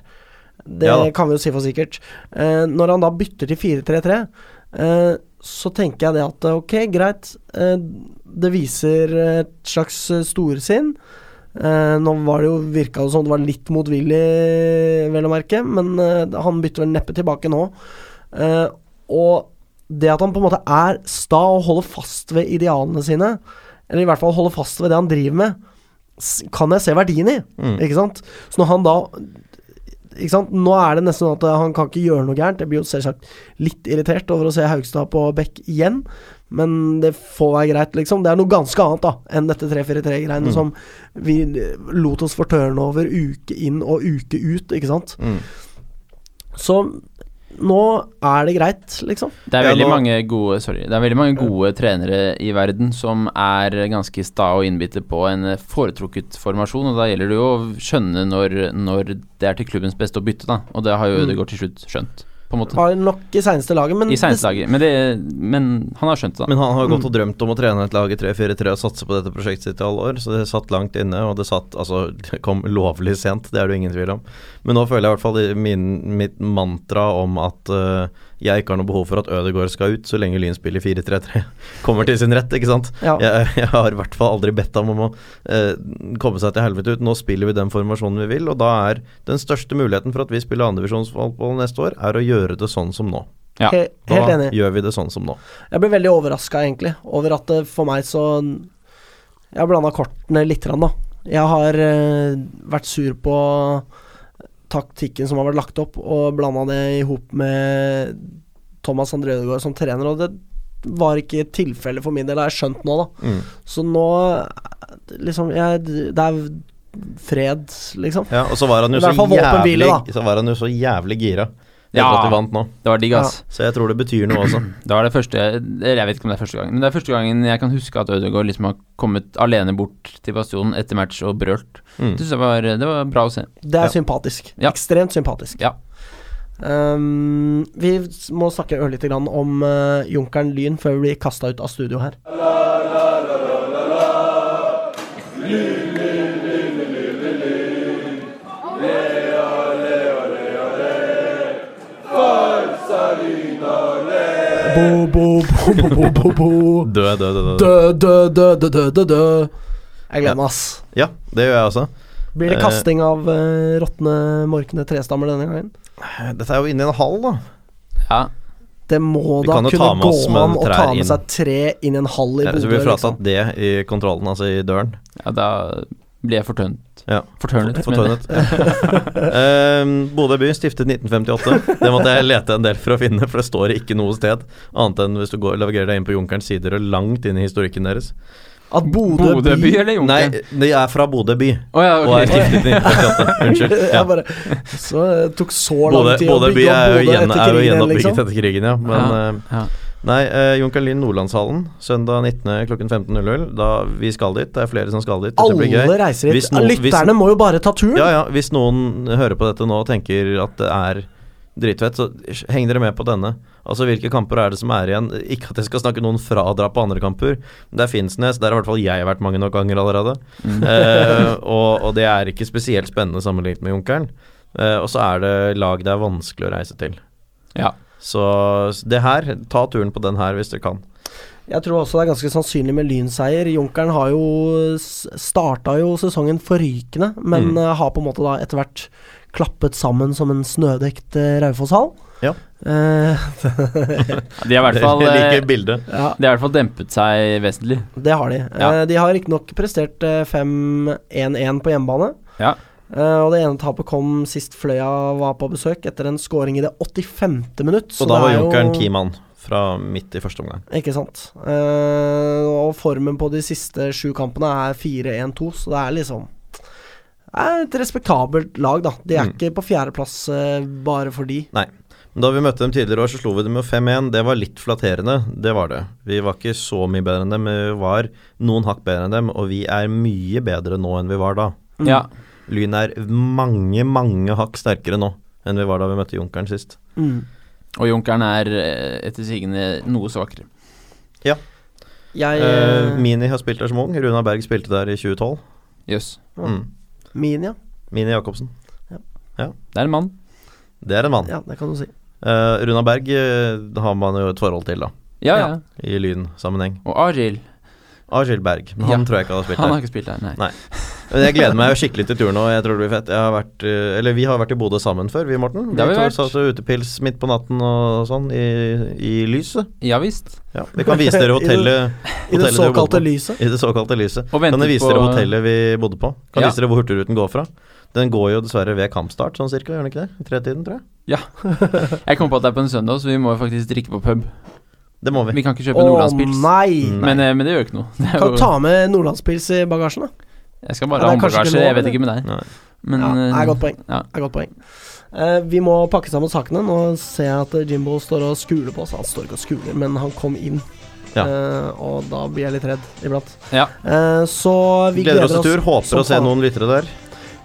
[SPEAKER 1] Det
[SPEAKER 3] Ja da.
[SPEAKER 1] kan vi jo si for sikkert. Eh, når han da bytter til 4-3-3, eh, så tenker jeg det at eh, ok, greit. Eh, det viser eh, et slags eh, storsinn. Eh, nå var det jo, virka det som det var litt motvillig, vel å merke, men eh, han bytter vel neppe tilbake nå. Eh, og det at han på en måte er sta og holder fast ved idealene sine, eller i hvert fall holder fast ved det han driver med, s- kan jeg se verdien i. Ikke sant? Så når han da ikke sant? Nå er det nesten sånn at eh, han kan ikke gjøre noe gærent. Jeg blir jo selvsagt litt irritert over å se Haugstad på bekk igjen, men det får være greit, liksom. Det er noe ganske annet da enn dette 3-4-3-greiene som vi eh, lot oss fortørne over uke inn og uke ut, ikke sant. Så nå er det greit, liksom.
[SPEAKER 2] Det er
[SPEAKER 3] Ja,
[SPEAKER 2] veldig
[SPEAKER 3] nå-
[SPEAKER 2] mange gode Sorry. Det er veldig mange gode trenere i verden som er ganske sta og innbitte på en foretrukket formasjon, og da gjelder det jo å skjønne når, når det er til klubbens beste å bytte, da. Og det
[SPEAKER 3] Mm.
[SPEAKER 2] har jo Ødegaard til slutt skjønt, på en
[SPEAKER 3] Ah,
[SPEAKER 2] måte.
[SPEAKER 1] Har nok i seneste laget, men
[SPEAKER 2] I seneste dager. Men, det, men han har skjønt det, da.
[SPEAKER 3] Men han har
[SPEAKER 1] Mm.
[SPEAKER 3] gått og drømt om å trene et lag i 3-4-3 og satse på dette prosjektet sitt i alle år, så det satt langt inne, og det satt Altså, det kom lovlig sent, det er det jo ingen tvil om. Men nå føler jeg i hvert fall i min, mitt mantra om at eh, jeg ikke har noe behov for at Ødegaard skal ut, så lenge Lyn spiller 4-3-3, [laughs] kommer til sin rett, ikke sant?
[SPEAKER 1] Ja.
[SPEAKER 3] Jeg, jeg har i hvert fall aldri bedt ham om å eh, komme seg til helvete ut. Nå spiller vi den formasjonen vi vil, og da er den største muligheten for at vi spiller andredivisjonsfotball neste år, er å gjøre det sånn som nå.
[SPEAKER 2] Ja,
[SPEAKER 1] He
[SPEAKER 3] Da
[SPEAKER 1] helt enig.
[SPEAKER 3] gjør vi det sånn som nå.
[SPEAKER 1] Jeg ble veldig overraska, egentlig, over at det for meg så Jeg blanda kortene litt, grann, da. Jeg har eh, vært sur på taktikken som har vært lagt opp, og blanda det i hop med Thomas André Ødegaard som trener, og det var ikke tilfellet for min del, har jeg skjønt nå, da.
[SPEAKER 3] Mm.
[SPEAKER 1] Så nå liksom jeg, Det er fred, liksom.
[SPEAKER 3] Ja, og så var han jo
[SPEAKER 1] I hvert
[SPEAKER 3] så
[SPEAKER 1] fall våpenhvile,
[SPEAKER 3] jævlig,
[SPEAKER 1] da.
[SPEAKER 3] så var han jo så jævlig gira etter
[SPEAKER 2] Ja.
[SPEAKER 3] at de vant nå.
[SPEAKER 2] Det var digg, ass.
[SPEAKER 3] Så jeg tror det betyr noe også.
[SPEAKER 2] Det var det første eller Jeg vet ikke om det er første gangen, men det er første gangen jeg kan huske at Ødegaard liksom har kommet alene bort til bastionen etter match og brølt.
[SPEAKER 3] Mm.
[SPEAKER 2] Jeg synes det, var, det var bra å se.
[SPEAKER 1] Det er
[SPEAKER 3] Ja.
[SPEAKER 1] sympatisk.
[SPEAKER 2] Ja.
[SPEAKER 1] Ekstremt sympatisk.
[SPEAKER 2] Ja.
[SPEAKER 1] Ehm, vi s- må snakke ørlite grann om eh, Junkeren Lyn før vi blir kasta ut av studio her. Bo, bo, bo, bo, bo, bo, bo.
[SPEAKER 3] Dø, dø, dø, dø, dø.
[SPEAKER 1] Dø, dø, dø, dø, dø, dø, dø. Jeg gleder meg, ass.
[SPEAKER 3] Ja, det gjør jeg også.
[SPEAKER 1] Blir det
[SPEAKER 3] Eh,
[SPEAKER 1] kasting av uh, råtne, morkne trestammer denne gangen?
[SPEAKER 3] Dette er jo inne i en hall, da.
[SPEAKER 2] Ja,
[SPEAKER 1] Det må
[SPEAKER 3] Vi
[SPEAKER 1] da
[SPEAKER 3] kan jo
[SPEAKER 1] kunne
[SPEAKER 3] ta med
[SPEAKER 1] gå
[SPEAKER 3] oss med
[SPEAKER 1] an å
[SPEAKER 3] trær
[SPEAKER 1] ta med
[SPEAKER 3] inn.
[SPEAKER 1] seg tre inn i en hall i
[SPEAKER 3] Ja, så
[SPEAKER 1] Bodø.
[SPEAKER 3] blir vi
[SPEAKER 1] Liksom.
[SPEAKER 3] fratatt det i kontrollen, altså i døren.
[SPEAKER 2] ja da blir jeg fortønt.
[SPEAKER 3] Ja.
[SPEAKER 2] Fortørnet, mener jeg.
[SPEAKER 3] Fortøynet. [laughs] Ehm, Bodø by stiftet 1958. Det måtte jeg lete en del for å finne, for det står ikke noe sted. Annet enn hvis du går, navigerer deg inn på Junkerens sider og langt inn i historikken deres.
[SPEAKER 1] At Bodø
[SPEAKER 2] Bodø by
[SPEAKER 1] by
[SPEAKER 2] eller
[SPEAKER 3] Nei,
[SPEAKER 2] Junker?
[SPEAKER 3] de er fra Bodø by
[SPEAKER 2] Å ja,
[SPEAKER 3] og er
[SPEAKER 2] ok.
[SPEAKER 3] stiftet i
[SPEAKER 1] [laughs]
[SPEAKER 3] 1958. Unnskyld. Ja.
[SPEAKER 1] [laughs] Jeg bare, så eh, tok så lang
[SPEAKER 3] Bodø,
[SPEAKER 1] tid å
[SPEAKER 3] Bodø by
[SPEAKER 1] bygge
[SPEAKER 3] er
[SPEAKER 1] opp
[SPEAKER 3] jo,
[SPEAKER 1] Bodø etter
[SPEAKER 3] gjen, er jo
[SPEAKER 1] krigen igjen,
[SPEAKER 3] gjenoppbygget
[SPEAKER 1] liksom.
[SPEAKER 3] etter krigen, ja. Men
[SPEAKER 2] Ja,
[SPEAKER 3] eh,
[SPEAKER 2] ja.
[SPEAKER 3] Nei, eh, Junkerlin Nordlandshallen, søndag 19. klokken 15.00. Da vi skal dit. Det er flere som skal dit. Dette blir gøy.
[SPEAKER 1] Alle reiser hit.
[SPEAKER 3] Hvis noen- hvis-
[SPEAKER 1] Lytterne må jo bare ta turen.
[SPEAKER 3] Ja, ja, hvis noen hører på dette nå og tenker at det er dritfett, så heng dere med på denne. Altså, hvilke kamper er det som er igjen? Ikke at jeg skal snakke noen fra å dra på andre kamper, men det er Finnsnes. Der har i hvert fall jeg vært mange nok ganger allerede.
[SPEAKER 1] Mm.
[SPEAKER 3] [laughs] Eh, og, og det er ikke spesielt spennende sammenlignet med Junkeren. Eh, og så er det lag det er vanskelig å reise til.
[SPEAKER 2] Ja.
[SPEAKER 3] Så s- det her, ta turen på den her hvis dere kan.
[SPEAKER 1] Jeg tror også det er ganske sannsynlig med lynseier. Junkeren har jo s- starta jo sesongen forrykende, men
[SPEAKER 3] Mm.
[SPEAKER 1] eh, har på en måte da etter hvert klappet sammen som en snødekt eh, Raufoss-hall.
[SPEAKER 3] Ja.
[SPEAKER 1] Eh, [laughs]
[SPEAKER 2] De har i hvert fall eh,
[SPEAKER 3] [laughs] Liker bildet.
[SPEAKER 1] ja,
[SPEAKER 2] de har i hvert fall dempet seg vesentlig.
[SPEAKER 1] det har de.
[SPEAKER 2] Ja.
[SPEAKER 1] Eh, de har riktignok prestert eh, 5-1-1 på hjemmebane.
[SPEAKER 2] Ja.
[SPEAKER 1] Eh, og det ene tapet kom sist Fløya var på besøk, etter en scoring i det 85. minutt. så
[SPEAKER 3] Og da
[SPEAKER 1] det
[SPEAKER 3] var
[SPEAKER 1] er jo-
[SPEAKER 3] Junkeren keyman fra midt i første omgang.
[SPEAKER 1] Ikke sant. Eh, og formen på de siste sju kampene er 4-1-2, så det er liksom det er et respektabelt lag, da. De er
[SPEAKER 3] Mm.
[SPEAKER 1] ikke på fjerdeplass uh, bare fordi.
[SPEAKER 3] Da vi møtte dem tidligere i år, så slo vi dem med 5-1. Det var litt flatterende, det var det. Vi var ikke så mye bedre enn dem, men vi var noen hakk bedre enn dem, og vi er mye bedre nå enn vi var da.
[SPEAKER 1] Mm.
[SPEAKER 2] Ja.
[SPEAKER 3] Lyn er mange, mange hakk sterkere nå enn vi var da vi møtte Junkeren sist.
[SPEAKER 1] Mm.
[SPEAKER 2] Og Junkeren er eh, etter sigende noe svakere.
[SPEAKER 1] Jeg
[SPEAKER 3] Eh,
[SPEAKER 1] eh,
[SPEAKER 3] Mini har spilt der som ung. Runa Berg spilte der i 2012.
[SPEAKER 2] Jøss.
[SPEAKER 1] Ja.
[SPEAKER 3] Mm.
[SPEAKER 1] Min, ja.
[SPEAKER 3] Mini Jacobsen.
[SPEAKER 2] Det er en mann.
[SPEAKER 3] Det er en mann.
[SPEAKER 1] ja. Det kan du si.
[SPEAKER 3] Eh, Runa Berg eh, har man jo et forhold til, da,
[SPEAKER 2] Ja, ja.
[SPEAKER 1] Ja.
[SPEAKER 3] i Lyn-sammenheng.
[SPEAKER 2] Og Arild.
[SPEAKER 3] Arild Berg. Men han
[SPEAKER 2] Ja.
[SPEAKER 3] tror jeg ikke hadde spilt
[SPEAKER 2] Han
[SPEAKER 3] der.
[SPEAKER 2] har ikke spilt der, nei.
[SPEAKER 3] Men jeg gleder meg jo skikkelig til turen, og jeg tror det blir fett. Jeg har vært, eh, eller vi har vært i Bodø sammen før, vi, Morten. Vi,
[SPEAKER 2] Det har vi
[SPEAKER 3] to
[SPEAKER 2] vært.
[SPEAKER 3] satt og utepils midt på natten og sånn, i, i lyset.
[SPEAKER 2] Ja visst.
[SPEAKER 3] Ja, vi kan
[SPEAKER 2] [laughs]
[SPEAKER 3] vise dere hotellet.
[SPEAKER 1] I det
[SPEAKER 3] hotellet dere bodde
[SPEAKER 1] såkalte
[SPEAKER 3] på.
[SPEAKER 1] lyset.
[SPEAKER 3] I det såkalte lyset.
[SPEAKER 2] Og
[SPEAKER 3] Kan
[SPEAKER 2] venter
[SPEAKER 3] jeg vise
[SPEAKER 2] på
[SPEAKER 3] dere hotellet vi bodde på? Kan
[SPEAKER 2] Ja.
[SPEAKER 3] vise dere hvor Hurtigruten går fra? Den går jo dessverre ved kampstart, sånn cirka, gjør den ikke det? I Tretiden, tror jeg.
[SPEAKER 2] Jeg kom på at det er på en søndag, så vi må jo faktisk drikke på pub.
[SPEAKER 3] Det må vi.
[SPEAKER 2] Vi kan ikke kjøpe
[SPEAKER 1] Å
[SPEAKER 2] Nordlandspils.
[SPEAKER 1] nei!
[SPEAKER 3] Mm.
[SPEAKER 2] Men, eh, men det gjør ikke noe. [laughs] Det er
[SPEAKER 1] Kan du
[SPEAKER 2] jo,
[SPEAKER 1] ta med Nordlandspils i bagasjen, da?
[SPEAKER 2] jeg skal bare
[SPEAKER 1] Ja,
[SPEAKER 2] ha
[SPEAKER 1] det er kanskje ikke
[SPEAKER 2] håndbagasje,
[SPEAKER 1] lov,
[SPEAKER 2] jeg vet
[SPEAKER 1] eller?
[SPEAKER 2] ikke med deg.
[SPEAKER 3] Nei.
[SPEAKER 2] Men
[SPEAKER 1] ja,
[SPEAKER 2] eh,
[SPEAKER 1] er godt poeng.
[SPEAKER 2] ja.
[SPEAKER 1] Er godt poeng. Eh, vi må pakke sammen sakene. Nå ser jeg at Jimbo står og skuler på oss. Han står ikke og skuler, men han kom inn.
[SPEAKER 3] Ja.
[SPEAKER 1] Eh, og da blir jeg litt redd iblant.
[SPEAKER 2] Ja.
[SPEAKER 1] Eh, så vi
[SPEAKER 3] gleder oss til tur.
[SPEAKER 1] som
[SPEAKER 3] Håper å se
[SPEAKER 1] faen.
[SPEAKER 3] noen lyttere der.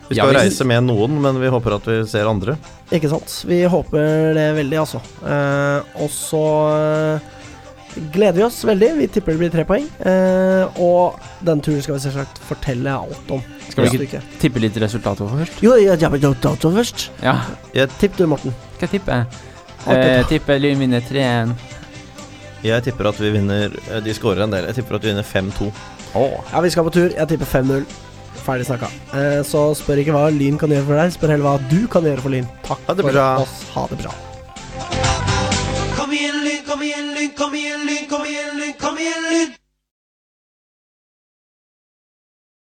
[SPEAKER 3] Vi
[SPEAKER 2] Ja,
[SPEAKER 3] skal
[SPEAKER 2] vi-
[SPEAKER 3] reise med noen, men vi håper at vi ser andre.
[SPEAKER 1] Ikke sant. Vi håper det veldig, altså. Eh, og så eh, gleder vi oss veldig. Vi tipper det blir tre poeng. Eh, og den turen skal vi selvsagt fortelle alt om.
[SPEAKER 2] Skal vi
[SPEAKER 1] neste
[SPEAKER 2] ikke
[SPEAKER 1] uke.
[SPEAKER 2] tippe litt resultat over først?
[SPEAKER 1] Jo, jeg, jeg, jeg, jeg, først.
[SPEAKER 2] Ja,
[SPEAKER 1] Tipp du, Morten.
[SPEAKER 2] skal jeg tippe?
[SPEAKER 1] Ok,
[SPEAKER 2] Eh,
[SPEAKER 1] da.
[SPEAKER 2] tippe Lyn vinner 3-1.
[SPEAKER 3] Jeg tipper at vi vinner eh, De skårer en del. Jeg tipper at vi vinner 5-2.
[SPEAKER 1] Ja, vi skal på tur. Jeg tipper 5-0. Ferdig snakka. Eh, så spør ikke hva Lyn kan gjøre for deg, spør heller hva du kan gjøre for Lyn. Takk
[SPEAKER 3] Ha det
[SPEAKER 1] for
[SPEAKER 3] bra.
[SPEAKER 1] oss. Ha det bra.
[SPEAKER 7] Kom Lyn, kom igjen, Lyn, kom igjen, Lyn, kom igjen, Lyn!